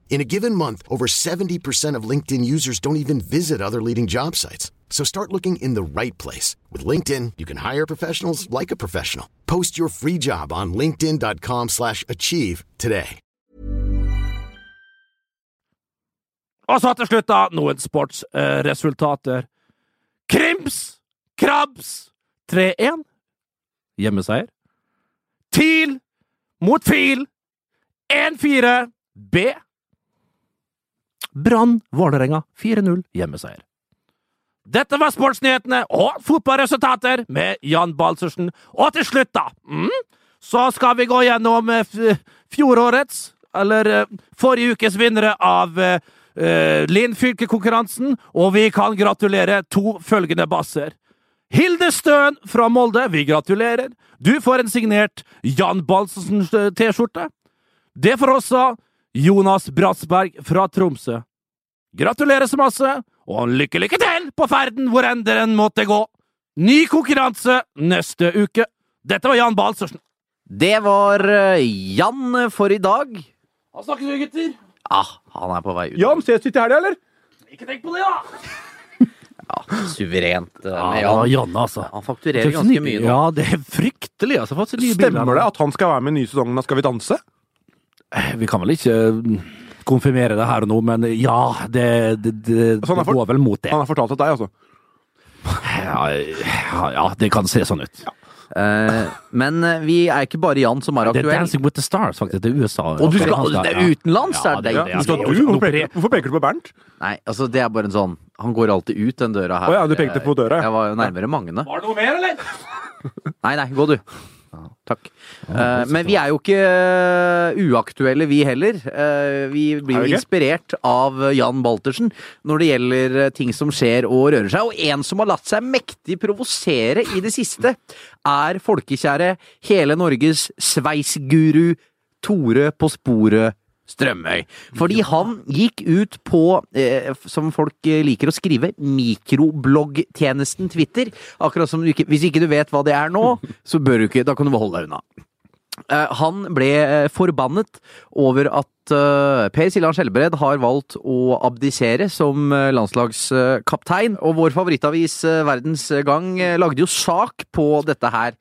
F: In a given month, over 70% of LinkedIn users don't even visit other leading job sites. So start looking in the right place. With LinkedIn, you can hire professionals like a professional. Post your free job on linkedin.com/achieve slash achieve today.
C: Og så til slutt, da, noen sportsresultater. Krims Krabs 3-1. Hjemmeseier. TIL mot FIL 1-4 B. Brann Vålerenga 4-0. Hjemmeseier. Dette var sportsnyhetene og fotballresultater med Jan Balsersen. Og til slutt, da, mm, så skal vi gå gjennom eh, f- fjorårets, eller eh, forrige ukes vinnere av eh, eh, Linn fylke-konkurransen, og vi kan gratulere to følgende basser. Hilde Støen fra Molde, vi gratulerer. Du får en signert Jan Balsersen-T-skjorte. Det får også Jonas Bratsberg fra Tromsø. Gratulerer så masse, og lykke, lykke til på ferden hvor enn den måtte gå! Ny konkurranse neste uke. Dette var Jan Balsersen.
B: Det var eh, Jan for i dag.
C: Da snakkes vi, gutter!
B: Ah, han er på vei ut.
D: Jan, ses vi til helga, eller?
C: Ikke tenk på det, da!
B: Suverent. eh, med
A: Ja,
B: Jan.
A: Janne, altså.
B: Han fakturerer ganske mye nå.
A: Ja, det er fryktelig, altså. Fått seg nye
D: Stemmer det
A: biler.
D: at han skal være med i nye sesongen av Skal vi danse?
A: Vi kan vel ikke eh, konfirmere det her og nå, men ja, det, det, det,
B: Altså,
D: han er
A: det
D: for-
A: går vel mot det.
D: Han har fortalt det til deg, altså.
A: Ja, ja, ja, det kan se sånn ut.
B: Eh, Men eh, vi er ikke bare Jan som er
A: Det er
B: aktuell.
A: Dancing with the Stars, faktisk. Det er USA.
B: Og du skal, det er utenlands, er det
A: Ja,
D: Du skal-
A: det
D: du,
A: er jo
D: hvorfor,
A: noe
D: peker, hvorfor peker du på Bernt?
B: Nei, altså det er bare en sånn Han går alltid ut den døra her.
D: Å ja, du pekte på døra, ja.
B: Jeg var jo nærmere Magne.
C: Var det noe mer, eller?
B: Nei, nei, gå du. Takk. Eh, men vi er jo ikke eh, uaktuelle, vi heller. Eh, vi blir
D: Er vi
B: jo
D: ikke?
B: inspirert av Jan Baltersen når det gjelder eh, ting som skjer og rører seg. Og en som har latt seg mektig provosere i det siste, er folkekjære hele Norges sveisguru Tore på sporet. Strømøy. Fordi han gikk ut på, eh, som folk eh, liker å skrive, mikrobloggtjenesten Twitter. Akkurat som du ikke Hvis ikke du vet hva det er nå, så bør du ikke Da kan du bare holde deg unna. Eh, Han ble eh, forbannet over at eh, Per Siljan Skjelbred har valgt å abdisere som eh, landslagskaptein. Og vår favorittavis eh, Verdens Gang eh, lagde jo sak på dette her.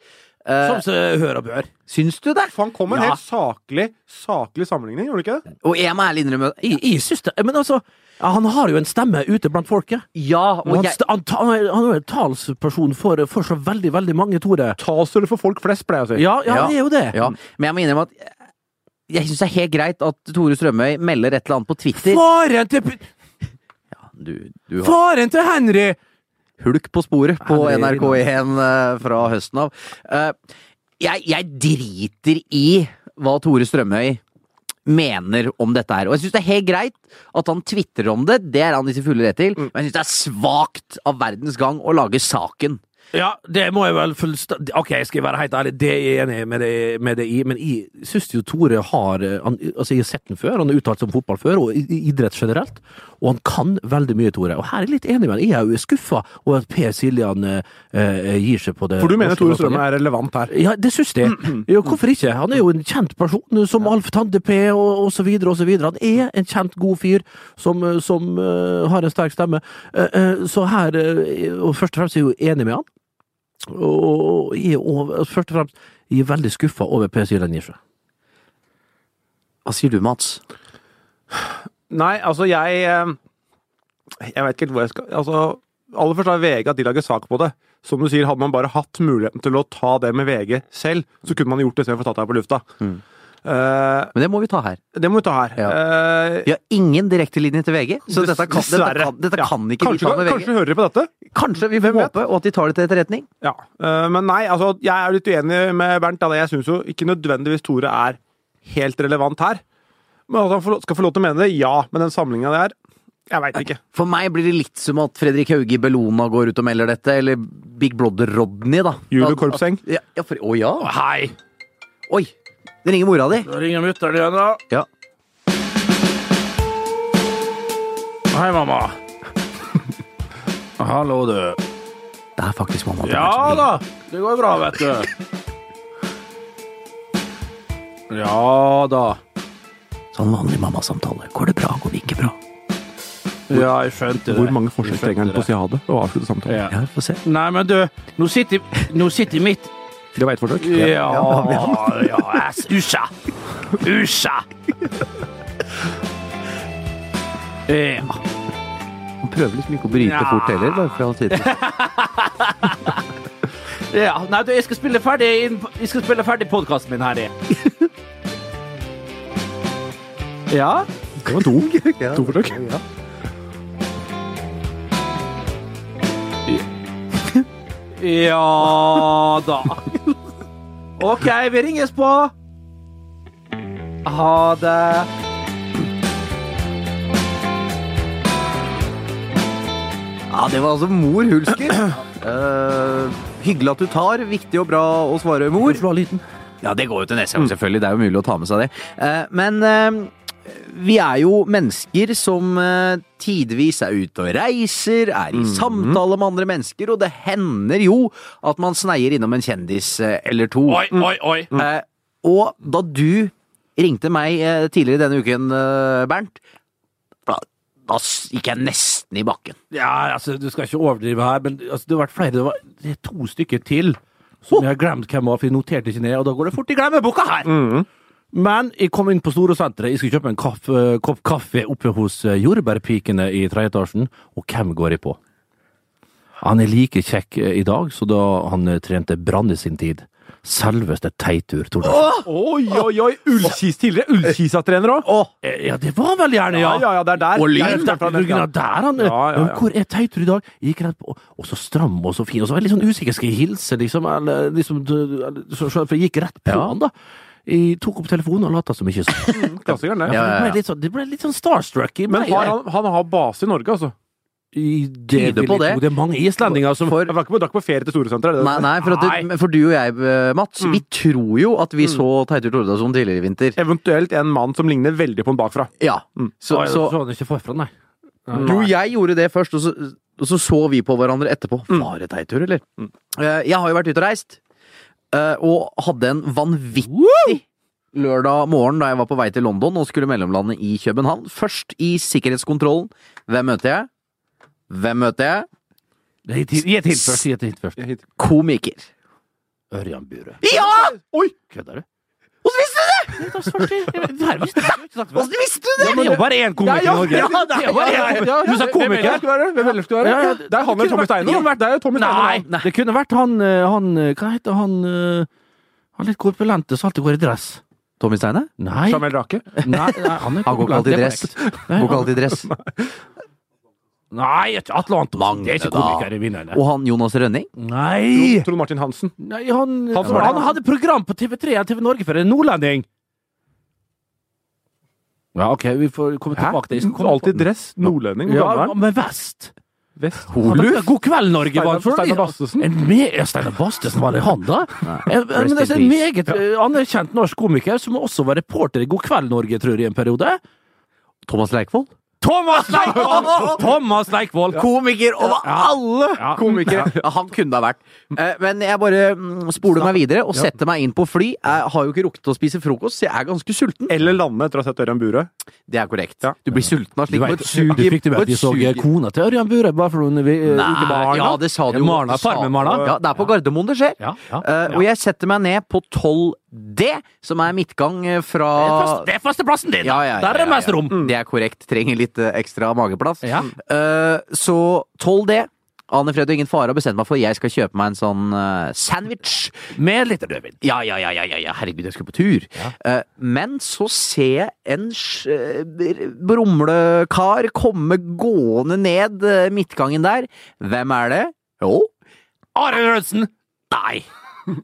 B: Eh,
C: Som seg hør og bør.
B: Syns du det?
D: For han kom med en
C: Ja.
D: helt saklig, saklig sammenligning, gjorde han ikke det?
B: Og jeg må ærlig innrømme
A: Jeg, jeg syns det. Men altså, ja, han har jo en stemme ute blant folket.
B: Ja,
A: Og
B: og
A: han,
B: jeg
A: st- han, ta- han er- han er jo en talsperson for, for så veldig, veldig mange, Tore.
D: Talsord for folk flest, pleier jeg å si.
A: Ja, ja,
B: Ja.
A: det er jo det.
B: Ja, men jeg må innrømme at jeg- jeg syns det er helt greit at Tore Strømøy melder et eller annet på Twitter.
A: Faren til, P-
B: Du, du har
A: faren til Henry!
B: hulk på sporet på
A: Ja, det er
B: NRK1 eh, fra høsten av. Eh, Jeg, jeg driter i hva Tore Strømøy mener om dette her. Og jeg syns det er helt greit at han tvitrer om det, det er han i sin fulle rett til, men jeg syns det er svakt av Verdens Gang å lage saken.
A: Ja, det må jeg vel fullstendig Ok, jeg skal være helt ærlig, det er jeg enig med det, med det i, men jeg syns jo Tore har eh, han, Altså, jeg har sett den før, han har uttalt seg om fotball før, og i- i idrett generelt, og han kan veldig mye, Tore. Og her er jeg litt enig med han. Jeg er jo skuffa over at Per Siljan eh, eh, gir seg på det.
D: For du mener
A: norske
D: Tore
A: landslaget.
D: Strømme er relevant her?
A: Ja, det syns jeg. Jo, hvorfor ikke? Han er jo en kjent person, eh, som Alf Tande P og, og så videre og så videre. Han er en kjent, god fyr som, eh, som eh, har en sterk stemme. Eh, eh, så her eh, Og først og fremst er jeg jo enig med han. Og, og, jeg er over- først og fremst jeg er veldig skuffa over PC Lenisje.
B: Hva sier du, Mats?
D: Nei, altså jeg eh, Jeg vet ikke helt hvor jeg skal altså, Aller først har VG at de lager sak på det. Som du sier,
B: Mm.
D: Hadde man bare hatt muligheten til å ta det med VG selv, så kunne man gjort det istedenfor å ta det her på lufta. Eh,
B: Men det må vi ta her.
D: det må vi ta her. Eh,
B: Vi har ingen direktelinje til VG, så dette kan, dette
D: dessverre.
B: kan, dette
D: Ja.
B: kan ikke de
D: kanskje,
B: ta med VG.
D: Kanskje hører de på dette?
B: Kanskje vi får
D: Hvem vet?
B: håpe, og at de tar det til etterretning.
D: Ja. Eh, men nei, altså, jeg er litt uenig med Bernt. da. Jeg syns jo ikke nødvendigvis Tore er helt relevant her. Men at han får- skal få lov til å mene det, ja. Men den samlinga der, jeg veit ikke.
B: For meg blir det litt som at Fredrik Hauge i Bellona går ut og melder dette, eller Big Brother-Rodney, da.
D: Julie
B: At-
D: Korpseng.
B: at- Ja, ja, for, å ja!
A: Hei!
B: Oi! Det ringer mora di.
A: Da ringer mutter'n igjen, da.
B: Ja.
A: Hei, mamma. Hallo, du.
B: Det er faktisk mamma. til Bernt som
A: Ja
B: ringer.
A: da, det går bra, vet du. Ja da.
B: Sånn vanlig mammasamtale. Går det bra, går det ikke bra?
A: Ja, jeg skjønte det.
D: Hvor mange forsøk trenger han på å si ha det og avslutte samtalen?
A: Ja.
B: Ja, vi får se.
A: Nei, men du, nå sitter, nå sitter mitt
D: Det var ett forsøk.
A: Ja, ja, ass, usja. Usja. Ja.
B: Han prøver liksom ikke å bryte
A: Ja.
B: fort heller, bare fordi han sitter
A: ja. Nei, du, jeg skal spille ferdig, inn- jeg skal spille ferdig podkasten min her, jeg. Ja?
D: Det var to. To forsøk.
A: Ja da. OK, vi ringes på. Ha det.
B: Ja, det var altså mor Hulsker. Eh, hyggelig at du tar. Viktig og bra å svare mor. Ja, det går jo til neste gang, selvfølgelig. Det er jo mulig å ta med seg det. Eh, men eh, vi er jo mennesker som eh, tidvis er ute og reiser, er i samtale med andre mennesker, og det hender jo at man sneier innom en kjendis eh, eller to.
A: Oi, oi, oi.
B: Eh, og da du ringte meg eh, tidligere denne uken, eh, Bernt, da, da s- gikk jeg nesten i bakken.
A: Ja, altså, du skal ikke overdrive her, men altså, det har vært flere. Det, var, det er to stykker til som jeg har glemt hvem var, for jeg noterte ikke ned, og da går det fort i glemmeboka her.
D: Mm.
A: Men jeg kom inn på Storosenteret, jeg skulle kjøpe en kaffe, kopp kaffe oppe hos eh, jordbærpikene i tredje etasjen, og hvem går jeg på? Han er like kjekk eh, i dag, så da han eh, trente brann i sin tid. Selveste Teitur Thordarsen.
D: Oi, oi, oi! Ullkis tidligere. Ullkisa-trener òg.
A: Eh, Ja, det var vel gjerne,
D: Ja,
A: ja.
D: ja, ja, det er der.
A: Og
D: Det er
A: Lyn,
D: der startet den, ja.
A: der han
D: Ja, ja,
A: Men
D: ja.
A: Hvor er Teitur i dag? Gikk rett på, og så stram og så fin, og så var jeg litt sånn usikker, skal jeg hilse, liksom? Eller, liksom du- eller, så, så, for jeg gikk rett på han, da. Jeg tok opp telefonen og lata som ikke så.
D: Mm, Klassikeren, det.
B: Ja,
A: Det
B: ja, ja.
A: ble litt sånn, det ble litt sånn starstruck i
D: Men
A: meg.
D: har han, han har base i Norge, altså?
A: I- det,
B: Tyder
A: vil
B: på
A: jeg
B: det.
A: tro. det er mange islendinger som
B: For
D: Jeg var ikke på, drakk på ferie til Storesenteret. er det det?
B: Nei, nei, for, at du, for du og jeg, eh, Mats, vi tror jo at vi så Teitur Tordasson tidligere i vinter.
D: Eventuelt en mann som ligner veldig på en bakfra.
B: Ja. Så,
A: Oi,
B: så
A: så han ikke forfra, nei.
B: jo, jeg gjorde det først, og så, og så så vi på hverandre etterpå.
A: Mm.
B: Var det Teitur, eller? Eh, Jeg har jo vært ute og reist, eh, og hadde en vanvittig lørdag morgen da jeg var på vei til London og skulle mellomlande i København. Først i sikkerhetskontrollen. Hvem møter jeg? Hvem møter jeg?
A: Gi et hint gi et hint først. Gi et hint først.
B: Komiker.
A: Ørjan Burøe.
B: Ja!
A: Kødder du?
B: Hvordan visste du det?!
A: Det er svart, jeg- det her visste jeg ikke. sant?
B: Hvordan visste du det?!
A: Det er jo bare én komiker i Norge. Det er jo bare én. Du sa
D: Hvem
A: komiker.
D: ellers skulle være det? Hvem ellers skulle være
A: Ja, ja,
D: det? Det er han
A: det
D: eller Tommy
A: kunne vært-
D: Steiner. Det er jo Tommy Steiner.
A: Nei, det kunne vært han, eh, han eh, Hva heter han eh, Han litt korpulente som alltid går i dress.
B: Tommy Steine?
A: Nei, nei,
D: Jamel Rake.
A: nei han, er
B: Han går ikke alltid i dress.
A: Nei,
B: Går ikke alltid i dress.
A: nei ikke Atle Antonsen. Det er ikke
B: Magne, da.
A: komiker i vinnerne.
B: Og han Jonas Rønning?
A: Nei!
D: Trond Martin Hansen.
A: nei han,
D: Han
A: han,
D: som var-
A: hadde program på TV3 og TV Norge for en nordlending. Ja, OK, vi får komme tilbake til
D: Går Alltid dress. Nordlending.
A: Ja,
D: Blåbærn.
A: med vest.
D: Vest.
A: Holuf? God kveld, Norge, var han
D: Steinar
A: for
D: Steinar Bastesen.
A: En me- ja, Steinar Bastesen, var det han, da? Eh, Men
B: Rest
A: det er en
B: in
A: meget eh, anerkjent norsk komiker som også var reporter i God kveld, Norge, tror jeg, i en periode.
B: Thomas Leikvoll?
A: Thomas Leikvoll! Thomas Leikvoll!
B: Komiker over alle!
A: Ja.
B: Komikere. Ja, han kunne det ha vært. Eh, Men jeg bare mm, spoler meg videre og setter meg inn på fly. Jeg har jo ikke rukket å spise frokost, så jeg er ganske sulten.
D: Eller Lande, etter å ha sett Ørjan Burøe.
B: Det er korrekt. Du blir sulten av
A: Du,
B: slikt.
A: vet,
B: på et sug
A: du fikk det med at
B: på et
A: vi så eh,
B: sug-
A: kona til Ørjan Bure bare for noen eh, uker
B: Nei,
A: barna.
B: ja, det sa du jo.
A: Marna,
B: Det sa-
A: Parmemarna.
B: Ja, det er på Gardermoen det skjer.
A: Ja, ja,
B: Eh,
A: ja.
B: Og jeg setter meg ned på 12D, som er midtgang eh, fra
A: Det er fast- Det er fasteplassen din!
B: Ja, ja, ja,
A: Der er det
B: ja,
A: mest
B: ja.
C: Mm.
A: rom.
B: Det er korrekt. Trenger litt eh, ekstra mageplass.
A: Ja.
B: Eh, så 12D aner fred og ingen fare og bestemte meg for at jeg skal kjøpe meg en sånn eh, sandwich.
C: Med litt rødvin.
B: Ja, ja, ja, ja, ja, ja, herregud, jeg skulle på tur. Eh, men så ser jeg en sj- eh, br- brumlekar komme gående ned eh, midtgangen der. Hvem er det? Jo,
C: Arild Rødsen!
B: Nei!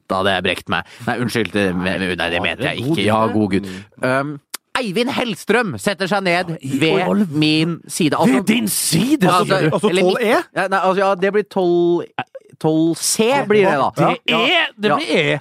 B: Da hadde jeg brekt meg. Nei, unnskyld. det- Nei, det mente jeg ikke. Ja, god gutt.
C: Mm.
B: Um, Eivind Hellstrøm setter seg ned ved min side. Altså-
C: Ved din side!
B: altså,
C: sier du.
D: altså
B: eller
A: E.
D: 12E?
B: midt- Ja, nei, altså, ja, det blir 12 12C
D: E.
B: blir det, da.
C: Det er Det
B: Ja.
C: blir E.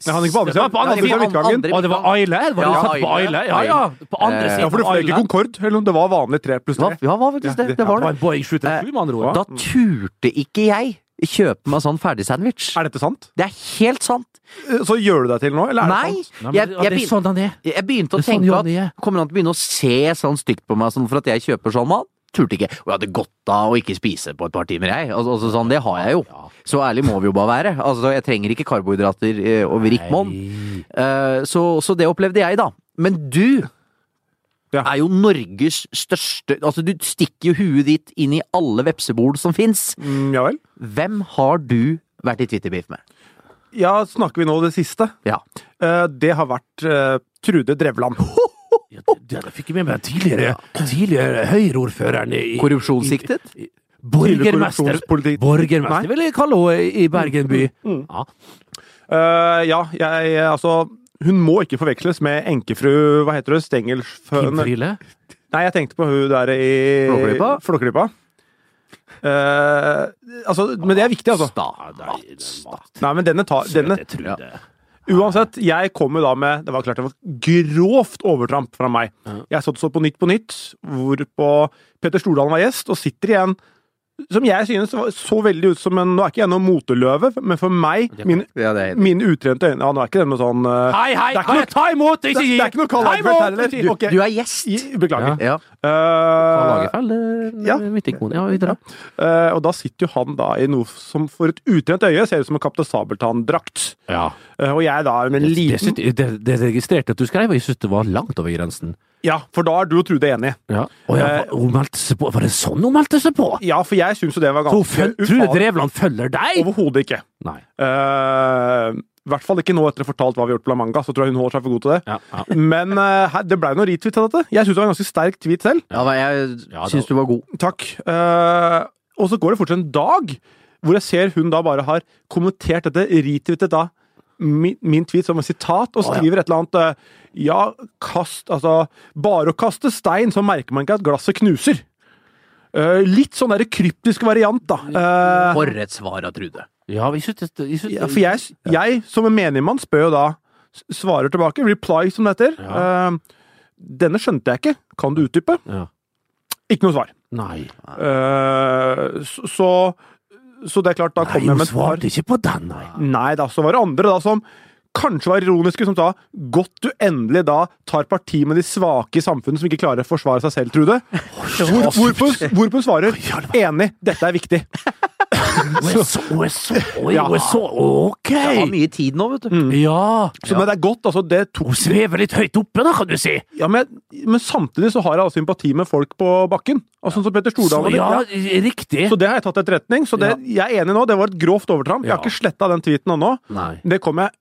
D: Men han er ikke på andre
C: Det var
D: siden.
C: på andre
D: Han er
C: siden.
D: på midtgangen.
B: Andre-
C: Å, det var Aile? Var det
B: Ja,
C: satt på
B: Aile.
C: Aile? Ja, ja. På andre
B: Eh,
C: siden.
D: Ja, for du
C: av
D: fløy ikke
C: Aile.
D: Concorde, eller det var vanlig tre pluss
B: Hva,
D: tre.
B: ja, hva faktisk
D: Ja,
B: det?
D: det-
B: Det
C: Det var
B: var det. Eh,
C: en Boeing 737, med andre ord.
B: Da turte ikke jeg kjøpe meg sånn ferdigsandwich.
D: Er dette sant? Eh,
B: Det er helt sant.
D: Så gjør du deg til nå, eller er
B: Nei!
D: det sant?
C: Nei, men
B: Jeg,
C: det-
B: jeg,
C: det er
B: begyn-
C: sånn han er.
B: jeg begynte å
C: Det er sånn
B: tenke
C: Johnny er.
B: at Kommer han til å begynne å se sånn stygt på meg sånn for at jeg kjøper sånn mat? Turte ikke. Og jeg hadde godt av å ikke spise på et par timer, jeg. Altså, altså, sånn, det har jeg jo. Så ærlig må vi jo bare være. Altså, jeg trenger ikke karbohydrater eh, over rikkmonn. Eh, så, så det opplevde jeg, da. Men du
D: Ja.
B: er jo Norges største Altså, du stikker jo huet ditt inn i alle vepsebol som fins.
D: Mm, ja vel.
B: Hvem har du vært i Twitter-beef med?
D: Ja, snakker vi nå det siste?
B: Ja.
D: Eh, det har vært eh, Trude Drevland.
C: Ja, det, det, det fikk jeg med meg tidligere, tidligere Høyre-ordføreren i
B: Korrupsjonssiktet?
C: i- i- Borgermester.
D: Korrupsjonspolitikk.
C: Borgermester
D: Nei.
C: vil jeg kalle henne i Bergen by.
D: Mm,
C: Ja.
D: Eh, ja, jeg Altså, hun må ikke forveksles med enkefru Hva heter hun?
C: Kim
D: Stengelsføn
C: Friele.
D: Nei, jeg tenkte på hun der i
B: Flåklypa?
D: Flåklypa. Eh, altså, men det er viktig, altså. Nei, men denne tar denne,
C: Jeg tror det.
D: Uansett, jeg kom jo da med Det var klart det var grovt overtramp fra meg. Jeg satt så på Nytt på Nytt, hvorpå Petter Stordalen var gjest, og sitter igjen som jeg synes var så veldig ut som en Nå er ikke jeg noe moteløve, men for meg, mine,
B: Ja, det er-
D: mine utrente øyne Ja, nå er ikke det noe sånn eh,
C: Hei, hei,
D: Det er ikke
C: hei,
D: noe-
C: ta imot!
D: det,
C: Ikke gi!
D: det er ikke noe Karl
C: Ta
D: Lagerfeld
C: imot!
D: her, eller?
B: Du,
D: Ok.
B: du er gjest!
D: I- Beklager.
B: Ja.
D: Eh, ja.
A: Midtekone, ja, videre.
D: eh, og da sitter jo han da i noe som for et utrent øye ser ut som en Kaptein Sabeltann-drakt.
A: Ja.
D: Eh, og jeg da med en
A: Det,
D: liten
A: synes- det, det registrerte at du skrev, og jeg synes det var langt over grensen.
D: Ja, for da er du og Trude enig.
A: Ja. Og ja,
D: Eh,
A: hun meldte seg på. Var det sånn hun meldte seg på?
D: Ja, for jeg syns jo det var
A: Hun
D: ganske
A: føl- Trude
D: ufarlig.
A: Drevland følger deg?
D: Overhodet ikke.
A: Nei.
D: Eh, I hvert fall ikke nå etter å ha fortalt hva vi har gjort på La Manga. Så tror jeg hun holder seg for god til det.
A: Ja, ja.
D: Men eh, her- det blei noe retweet av dette. Jeg syns det var en ganske sterk tweet selv.
B: Ja, men jeg syns du var god.
D: Takk. Eh, og så går det fortsatt en dag hvor jeg ser hun da bare har kommentert dette, retweetet da min, min tweet som et sitat, og skriver et eller annet eh, Ja, kast Altså, bare å kaste stein, så merker man ikke at glasset knuser. Eh, litt sånn der kryptisk variant, da. Eh,
B: For et svar av Trude.
A: Ja, jeg synes, det- jeg synes
D: Ja, for jeg, jeg som en menigmann spør jo da s- Svarer tilbake, reply som det heter. Eh, denne skjønte jeg ikke. Kan du utdype?
A: Ja.
D: Ikke noe svar.
A: Nei.
D: Eh, så, så Så det er klart, da
A: Nei,
D: kom jeg
A: hun
D: med et par
A: svarte ikke på den, nei.
D: Nei da, så var det andre da som kanskje var ironiske, som sa godt du endelig da tar parti med de svake i samfunnet som ikke klarer å forsvare seg selv, Trude. Hvor, hvorpå, hvorpå hun svarer enig, dette er viktig.
A: Hun er så, hun er så, oi,
D: Ja.
A: hun er så Ok!
B: Jeg har mye tid nå, vet du.
A: Mm. Ja.
D: Så men det er godt, altså. Det tok
A: Hun svever litt høyt oppe, da, kan du si.
D: Ja, men, men samtidig så har jeg altså sympati med folk på bakken. Altså, sånn som Petter
A: Så,
D: Stordalen.
A: ja,
D: Ja.
A: riktig.
D: Så det har jeg tatt til etterretning. Så det, jeg er enig nå, det var et grovt overtramp. Jeg har
A: Ja.
D: ikke sletta den tweeten ennå.
A: Nei.
D: Det kommer jeg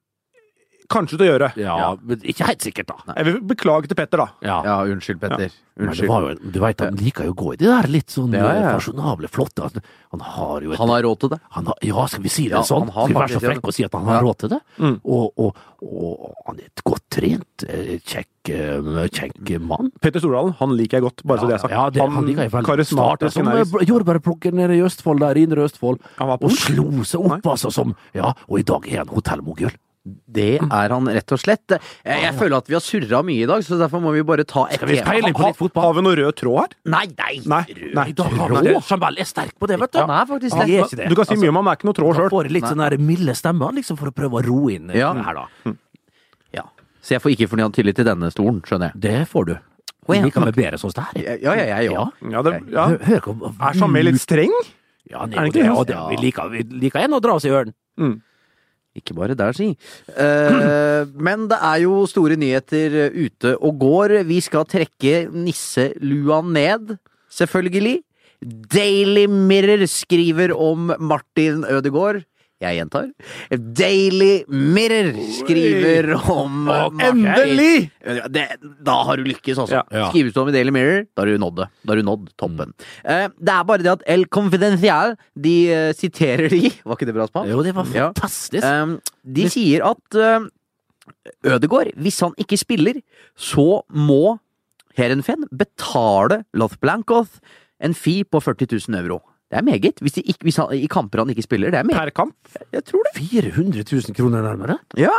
D: kanskje til å gjøre.
A: Ja, men ikke helt sikkert, da.
D: Jeg vil beklage til Petter, da.
A: Ja.
B: Ja, unnskyld,
A: Men
B: Petter.
A: det
B: Unnskyld.
A: var jo, en- du veit, han liker jo å gå i de der litt sånn
B: Ja, ja.
A: eh, fasjonable, flotte han, han har jo et
B: Han har råd til det.
A: han har- Ja, skal vi si det
B: Ja,
A: sånn?
B: han har
A: Skal vi være så
B: faktisk det.
A: frekke og si at han har
B: Ja.
A: råd til det?
D: Mm.
A: Og, og, og han er et godt trent, eh, kjekk, eh, kjekk mann.
D: Petter Stordalen han liker jeg godt, bare så Altså, det er sagt.
A: Ja, det, han, liker jeg veldig snart.
D: karismatisk
A: Som
D: energisk.
A: eh, jordbærplukker nede i Østfold, der i Indre Østfold,
D: Han var
A: og
D: punk.
A: slo seg opp, altså, som Ja, og i dag er han hotellmogul.
B: Det er han rett og slett. Jeg, jeg føler at vi har surra mye i dag, så derfor må vi bare ta et
A: Skal vi
B: tema.
A: peile inn på litt fotball?
D: Har vi noe rød tråd her?
B: Nei, nei!
D: Nei. nei.
A: I dag har han
D: Rå.
A: det. Jamal er sterk på det, vet du.
B: Han er faktisk
A: Han
B: det.
A: er ikke det. Altså,
D: Du kan si mye om han, men det er ikke noe tråd
A: Han
D: sjøl.
A: får litt sånn der milde stemmer, liksom, for å prøve å roe inn eh,
B: Ja.
A: det her, da.
B: Ja. Så jeg får ikke fornya tillit til denne stolen, skjønner jeg.
A: Det får du.
B: Å, ja.
A: Vi kan vel bedre sånn som det her.
B: Ja, ja, jeg òg.
D: Ja, det, ja.
A: Hør, hør hvor
D: Er Jamel litt streng?
A: Ja, han
D: Er
A: er
D: det
A: jo det.
D: ikke det?
A: Og det vi, liker, vi liker en å dra oss i ørene.
B: Ikke bare der, si. Eh, men det er jo store nyheter eh, ute og går. Vi skal trekke nisselua ned, selvfølgelig. Daily Mirror skriver om Martin Ødegaard. Jeg gjentar. Daily Mirror skriver om Martin
D: endelig!
B: Ødegaard. Det, da har du lykkes, altså.
D: Ja.
G: Ja.
B: Skrives du om i Daily Mirror, da har du nådd det. Da har du nådd toppen. Eh, det er bare det at El Confidencial, de eh, siterer de Var ikke det bra spansk?
A: Jo, det var
B: Ja.
A: fantastisk.
B: Um, de sier at um, Ødegård, hvis han ikke spiller, så må Herenfen betale Loth Blankoth en fee på 40 000 euro. Det er meget. Hvis, de ikke, hvis han, i kamper han ikke spiller, det er meget.
D: Per kamp.
B: Jeg tror det.
A: 400 000 kroner nærmere?
B: Ja.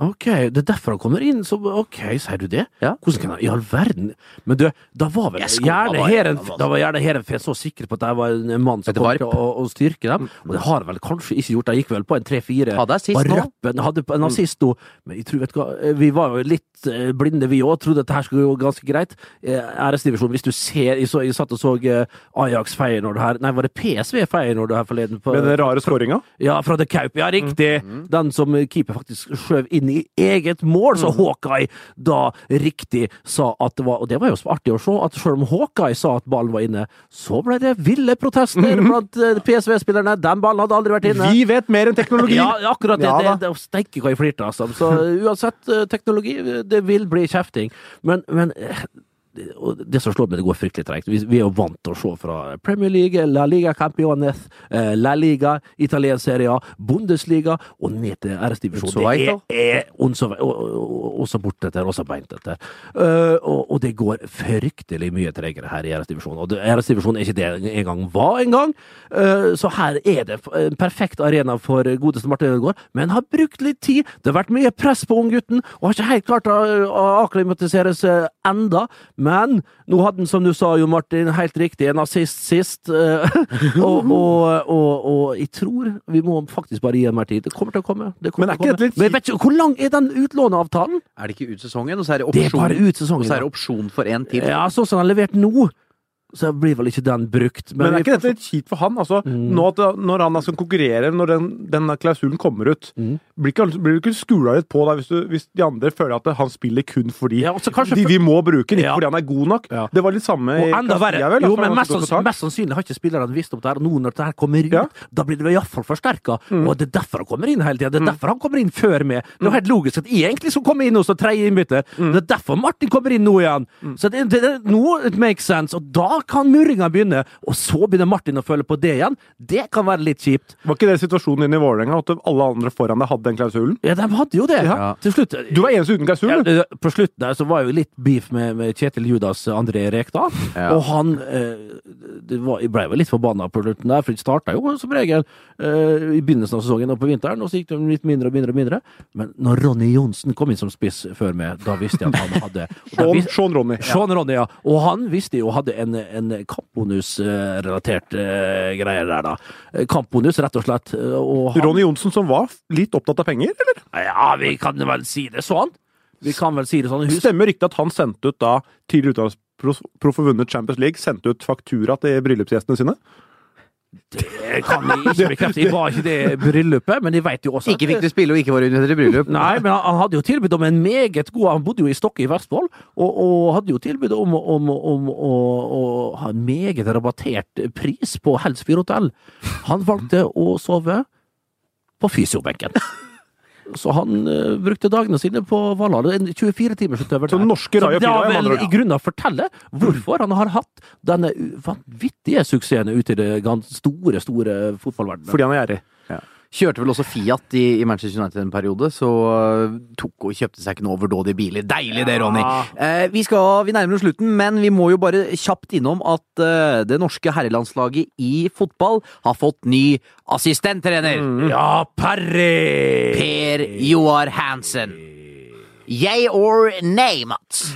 A: Ok, det er derfor han kommer inn. Så ok, sier du det?
B: Ja.
A: Hvordan kan han I all verden Men du, da var vel
B: Jeg skulle
A: gjerne
B: bare- altså.
A: Heren Da var gjerne Heerenveen så sikker på at jeg var en mann som
B: Etter
A: kom
B: varp.
A: til å, å styrke dem, og det har han vel kanskje ikke gjort. Jeg gikk vel på en tre-fire
B: Hadde jeg Mm. sist nå? Mm.
A: Rappen hadde en assist nå, men jeg tror, vet du hva, vi var jo litt eh, blinde vi òg, trodde at det her skulle gå ganske greit. Eh, Æresdivisjon, hvis du ser Jeg, så, jeg satt og så eh, Ajax Feyenoord her Nei, var det PSV Feyenoord her forleden? På,
D: Med den rare skåringa.
A: ja, fra The Kaup. Ja, riktig! Den som keeper faktisk skjøv inn i eget mål, så Hawkeye da riktig sa at det var Og det var jo så artig å se, at selv om Hawkeye sa at ballen var inne, så ble det ville protester blant eh, PSV-spillerne. Den ballen hadde aldri vært inne.
D: Vi vet mer enn teknologi!
A: Ja, akkurat det.
D: Ja
A: det,
D: da.
A: det, Steike hva jeg flirte, altså. Så uansett, eh, teknologi, eh, det vil bli kjefting. Men, men eh, det- og det som slår meg, det går fryktelig tregt. Vi, vi er jo vant til å se fra Premier League, La Liga Campiones, eh, La Liga, italiensk serie A, Bundesliga og ned til RS-divisjonen. Det
B: Unsoveito.
A: er, er Unsoveito, og- og- også bortetter, også beintetter. Eh, og, og det går fryktelig mye tregere her i RS-divisjonen. Og det- RS-divisjonen er ikke det den en gang var engang. Eh, så her er det f- en perfekt arena for godeste Martin Ødegaard, men har brukt litt tid. Det har vært mye press på unggutten, og har ikke helt klart å, å akklimatiseres eh, enda, men nå hadde han, som du sa, jo Martin, helt riktig, en assist sist. eh, og, og, og, og jeg tror vi må faktisk bare gi ham mer tid. Det kommer til å komme. Det kommer
D: Men er
A: til å
D: ikke
A: komme.
D: dette litt
A: Men jeg vet ikke, hvor lang er den utlåneavtalen?
B: Er det ikke ut sesongen, og så er det
A: Det er bare
B: opsjon,
A: ut
B: og
A: sesongen.
B: så er det
A: da.
B: opsjon for én til?
A: Ja, sånn som den er levert nå, så blir vel ikke den brukt.
D: Men
A: vi-
D: er
A: Mm.
D: ikke dette litt kjipt for han? Altså, nå at, når han skal konkurrere, når den, den klausulen kommer ut,
A: Mm.
D: blir ikke, han- blir du ikke skula litt på da, hvis, du, hvis de andre føler at han spiller kun fordi
A: Ja, også kanskje
D: de,
A: for-
D: vi må bruke den, ikke
A: Ja.
D: fordi han er god nok?
A: Ja.
D: Det var litt samme
A: Og enda verre,
D: Castilla, vel, altså, at
A: jo,
D: han
A: men
D: var
A: mest,
D: så godt
A: sanns-
D: betalt.
A: mest sannsynlig har ikke spillerne visst om det her. og Nå når det her kommer ut,
D: Ja. Mm.
A: da blir det iallfall forsterka. Og det er derfor han kommer inn hele tida. Det er derfor han kommer inn før meg. Det er jo helt logisk at jeg egentlig skulle komme inn nå som tredje innbytter.
D: Mm.
A: Det er derfor Martin kommer inn nå igjen. Så det, det, det, nå it makes sense, og da kan murringa begynne. Og så begynner Martin å føle på det igjen. Det kan være litt kjipt.
D: Var ikke det situasjonen din i Vålerenga, at alle andre foran deg hadde den klausulen?
A: Ja, de hadde jo det.
D: Ja.
A: Til slutt.
D: Du var eneste uten klausul,
A: Ja,
D: du!
A: det- på slutten der så var jo litt beef med, med Kjetil Judas eh, André Rekdal. Og han eh, det var, Jeg ble vel litt forbanna på slutten der, for det starta jo som regel eh, i begynnelsen av sesongen og på vinteren, og så gikk det litt mindre og mindre og mindre. Men når Ronny Johnsen kom inn som spiss før meg, da visste jeg at han hadde og da
D: Sean,
A: vis-
D: Sean Ronny.
A: Sean Ronny, ja. Og han visste jo hadde en, en kampbonus-relatert eh, greie der, da. Eh, Kampbonus, rett og slett. eh, Og han,
D: Ronny Johnsen som var litt opptatt av penger, eller?
A: Ja, vi kan vel si det sånn! Vi kan vel si det sånn. Husk
D: Stemmer ryktet at han sendte ut da tidligere utlandsproff og vunnet Champions League, sendte ut faktura til bryllupsgjestene sine?
A: Det Eh, kan jeg ikke bekrefte. Jeg var ikke det i bryllupet, men jeg veit jo også at-
B: Ikke fikk du spille og ikke var invitert i bryllup.
A: Nei, men han- han hadde jo tilbud om en meget god Han bodde jo i Stokke i Vestfold, og, og hadde jo tilbud om, om, om å, å ha en meget rabattert pris på Helsfyr hotell. Han valgte å sove på fysiobenken. Så han eh, brukte dagene sine på Valhall. En 24-timersutøver.
D: Så
A: der.
D: norske
A: Som
D: Raja
A: da
D: Pila, med andre
A: vel
D: ord.
A: i grunnen fortelle hvorfor han har hatt denne u- vanvittige suksessen ute i det gans- store, store fotballverdenen.
D: Fordi han er gjerrig.
B: Kjørte vel også Fiat i, i Manchester United en periode, så øh, tok og kjøpte seg ikke noen overdådige biler. Deilig det, Ronny! Eh, vi, skal, vi nærmer oss slutten, men vi må jo bare kjapt innom at eh, det norske herrelandslaget i fotball har fått ny assistenttrener.
A: Ja, Parry!
B: Per Joar Hansen. Yay or nay, Mats?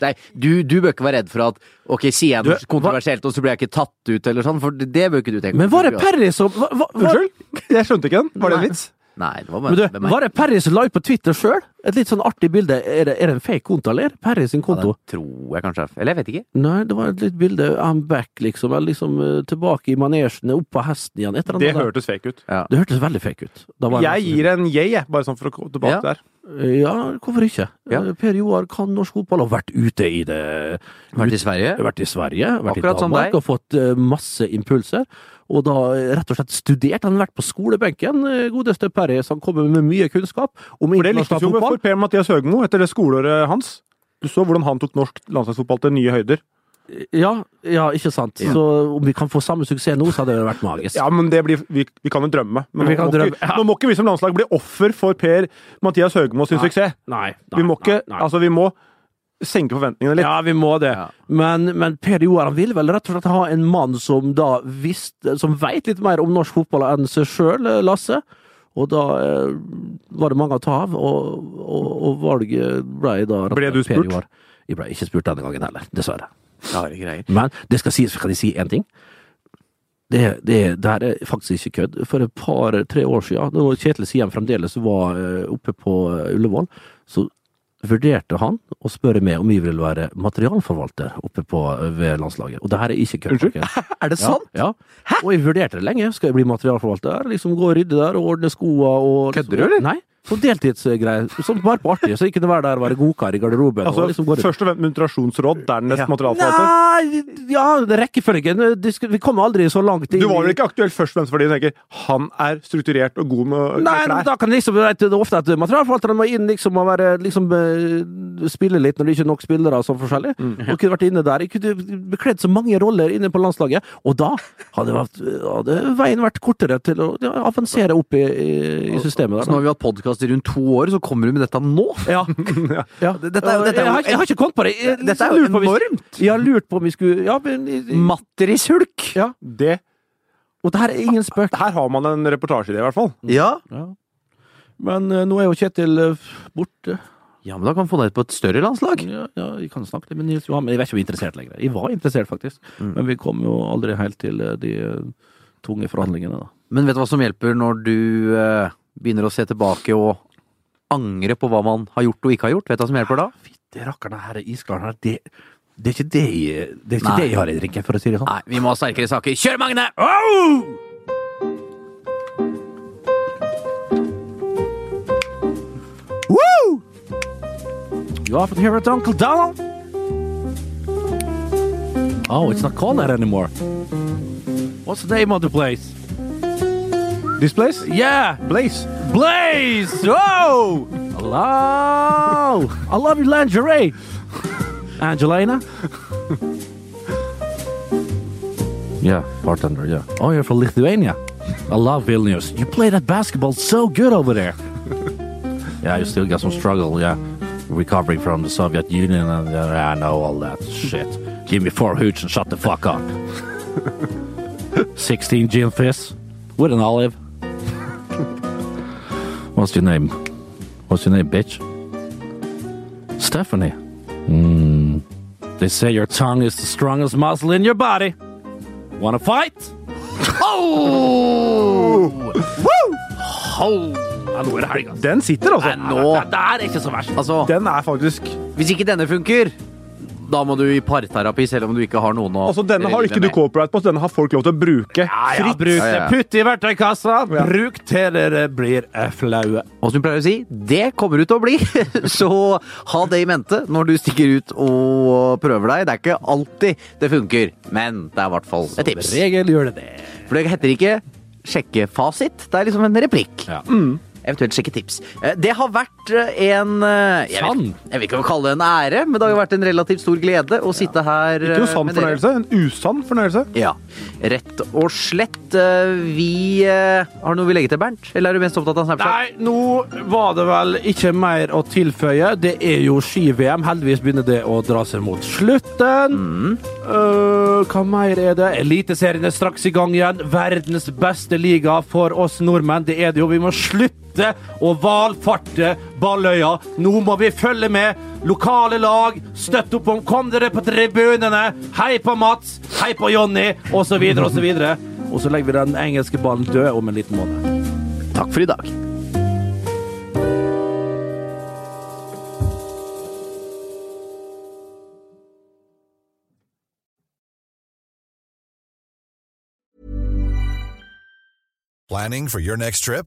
B: Nei, du, du bør ikke være redd for at ok, sier jeg noe
A: Du, hva-
B: kontroversielt, og så blir jeg ikke tatt ut, eller sånn, for det, det bør ikke du tenke
A: Men
B: på.
A: var det Perry som hva, hva, hva,
D: Unnskyld? Jeg skjønte ikke den. Var det en vits?
B: Nei, det var
A: Men
B: bare
A: du, var det Perry som la ut på Twitter sjøl? Et litt sånn artig bilde. Er det, er det en fake konto, eller? Perry sin
B: Ja,
A: konto?
B: den tror jeg kanskje. er- Eller jeg vet ikke.
A: Nei, det var et litt bilde. I'm back, liksom. Eller liksom eh, tilbake i manesjen, opp på hesten igjen. Et eller
D: Det
A: annet.
D: hørtes fake ut.
A: Det hørtes veldig fake ut. Da var det
D: Jeg
A: nesten-
D: gir en yay, jeg, bare sånn for å gå tilbake
B: Ja.
D: der.
A: Ja, hvorfor ikke?
B: Ja.
A: Eh, Per Joar kan norsk fotball, har vært ute i det.
B: Vært i Sverige.
A: Vært i Sverige, vært
B: Akkurat
A: i
B: som
A: Danmark
B: deg.
A: og fått eh, masse impulser. Og da eh, rett og slett studert. Han har vært på skolebenken, eh, godeste Perry, så han kommer med mye kunnskap om
D: For det lyktes
A: internasjonal
D: jo
A: fotball.
D: for Per-Mathias Høgmo etter det skoleåret hans. Du så hvordan han tok norsk landslagsfotball til nye høyder.
A: Ja, ja, ikke sant. Så om vi kan få samme suksess nå, så hadde det vært magisk.
D: Ja, men det blir, vi, vi kan jo drømme. Men
A: Vi
D: nå,
A: kan
D: må
A: drømme,
D: ikke, nå må ikke vi som landslag bli offer for Per-Mathias Høgmo sin suksess.
A: Nei, nei,
D: Vi må ikke,
A: nei, nei.
D: altså vi må senke forventningene litt.
A: Ja, vi må det. Men, men Per Joar han ville vel rett og slett ha en mann som da visste Som veit litt mer om norsk fotball enn seg sjøl, Lasse. Og da eh, var det mange å ta av, og, og, og valget ble da rett og
D: Ble du
A: slett Per
D: spurt?
A: Joar. Jeg ble ikke spurt denne gangen heller, dessverre.
B: Rare greier.
A: Men det skal sies, kan jeg si én ting? Det, det, det her er faktisk ikke kødd. For et par-tre år siden, når Kjetil Siem fremdeles var eh, oppe på eh, Ullevål, så vurderte han å spørre meg om vi ville være materialforvalter oppe på, eh, ved landslaget. Og det her er ikke kødd. Unnskyld?
B: Er det sant?
A: Ja. ja. Og jeg vurderte det lenge. Skal jeg bli materialforvalter? Liksom Gå og rydde der og ordne skoa og liksom-
B: Kødder du, eller?
A: Nei. Sånn deltidsgreie. Sånn bare på artig. Så jeg kunne være der og være godkar i garderoben. og
D: Altså,
A: liksom gå rundt.
D: Først og fremst muntrasjonsråd, dernest materialforvalter.
A: Nei, ja, rekkefølgen det skulle- Vi kommer aldri så langt inn
D: Du var
A: i-
D: vel ikke aktuell først og fremst fordi du tenker han er strukturert og god med med
A: Nei, men
D: klær?
A: da kan liksom, vet du, det er ofte at materialforvalterne må inn liksom, og være, liksom, eh, spille litt når det ikke er nok spillere og sånn forskjellig.
D: Mm.
A: Og kunne vært inne der. Jeg kunne bekledd så mange roller inne på landslaget. Og da hadde, vært, hadde veien vært kortere til å ja, avansere opp i, i, i systemet. Der, da.
B: Så nå har vi hatt podkast i rundt to år, så kommer du med dette nå?
A: Ja. ja.
B: Dette er jo- dette
A: jeg,
B: er jo
A: har, ikke- jeg har ikke kommet på det. Jeg,
B: Dette
A: liksom
B: er jo
A: lurer på om vi-
B: enormt.
A: Jeg har lurt på om vi skulle ja, men,
B: Matterishulk!
A: ja.
D: Det,
A: Og det her er ingen spøk.
D: her har man en reportasjeidé, i hvert fall.
B: Ja.
A: Men eh, nå er jo Kjetil eh, borte.
B: ja, men da kan vi få ned på et større landslag.
A: Ja, ja, jeg kan snakke litt med Nils Johan, men jeg vet ikke om jeg er interessert lenger. Jeg var interessert, faktisk, men vi kom jo aldri helt til eh, de eh, tunge forhandlingene, da.
B: Men vet du hva som hjelper når du eh, begynner å se tilbake og angre på hva man har gjort og ikke har gjort? Vet du hva som hjelper da?
A: Det rakkerne her er isklaren her, det, det er ikke det jeg, det er ikke
B: Nei.
A: det jeg har i drinken, for å si det sånn.
B: Nei, vi må ha sterkere saker. Kjør, Magne!
A: You often hear it, Uncle Donald. Oh, it's not called that anymore. What's the name of the place?
D: This place?
A: Yeah,
D: Blaze.
A: Blaze! Oh! Hello! I love your lingerie! Angelina? yeah, bartender, yeah. Oh, you're from Lithuania. I love Vilnius. You play that basketball so good over there. yeah, you still got some struggle, yeah. Recovering from the Soviet Union, and uh, I know all that shit. Give me four hoots and shut the fuck up. 16 gin fizz with an olive. What's your name? What's your name, bitch? Stephanie. Mm. They say your tongue is the strongest muscle in your body. Wanna fight? Oh! Woo! Nå er det helga.
D: Den sitter, altså.
A: Det er ikke så verst.
B: Altså,
D: Den er faktisk
B: hvis ikke denne funker, da må du i parterapi selv om du ikke har noen å
D: Altså, Denne har ikke du
B: med.
D: copyright på, så denne har folk lov til å bruke.
A: Ja, ja,
D: fritt.
A: bruk
B: Ja,
A: det.
B: ja.
A: Putt i verktøykassa. Bruk til dere blir eh, flaue.
B: Og som du pleier å si, det kommer du til å bli! Så ha det i mente når du stikker ut og prøver deg. Det er ikke alltid det funker, men det er i hvert fall et tips.
A: Regel gjør det det.
B: For det heter ikke 'sjekke fasit', det er liksom en replikk. Mm.
A: Ja.
B: Eventuelt sjekke tips. Eh, Det har vært eh, en eh, jeg vet,
A: Sann.
B: jeg vet ikke om jeg vil kalle det en ære, men det har jo vært en relativt stor glede å sitte her
D: Ikke
B: eh,
D: noe sann
B: med dere.
D: fornøyelse, en usann fornøyelse.
B: Ja, rett og slett. eh, Vi eh, har noe vi legger til, Bernt? Eller er du mest opptatt av Snapchat?
A: Nei, nå var det vel ikke mer å tilføye. Det er jo ski-VM. Heldigvis begynner det å dra seg mot slutten. Øh, hva mer er det? Eliteserien er straks i gang igjen. Verdens beste liga for oss nordmenn. Det er det jo. Vi må slutte å valfarte Balløya. Nå må vi følge med. Lokale lag, støtt opp om. Kom dere på tribunene! Hei på Mats! Hei på Jonny! Og så videre og så videre. Og så legger vi den engelske ballen død om en liten måned.
B: Takk for i dag.
H: Planning for your next trip?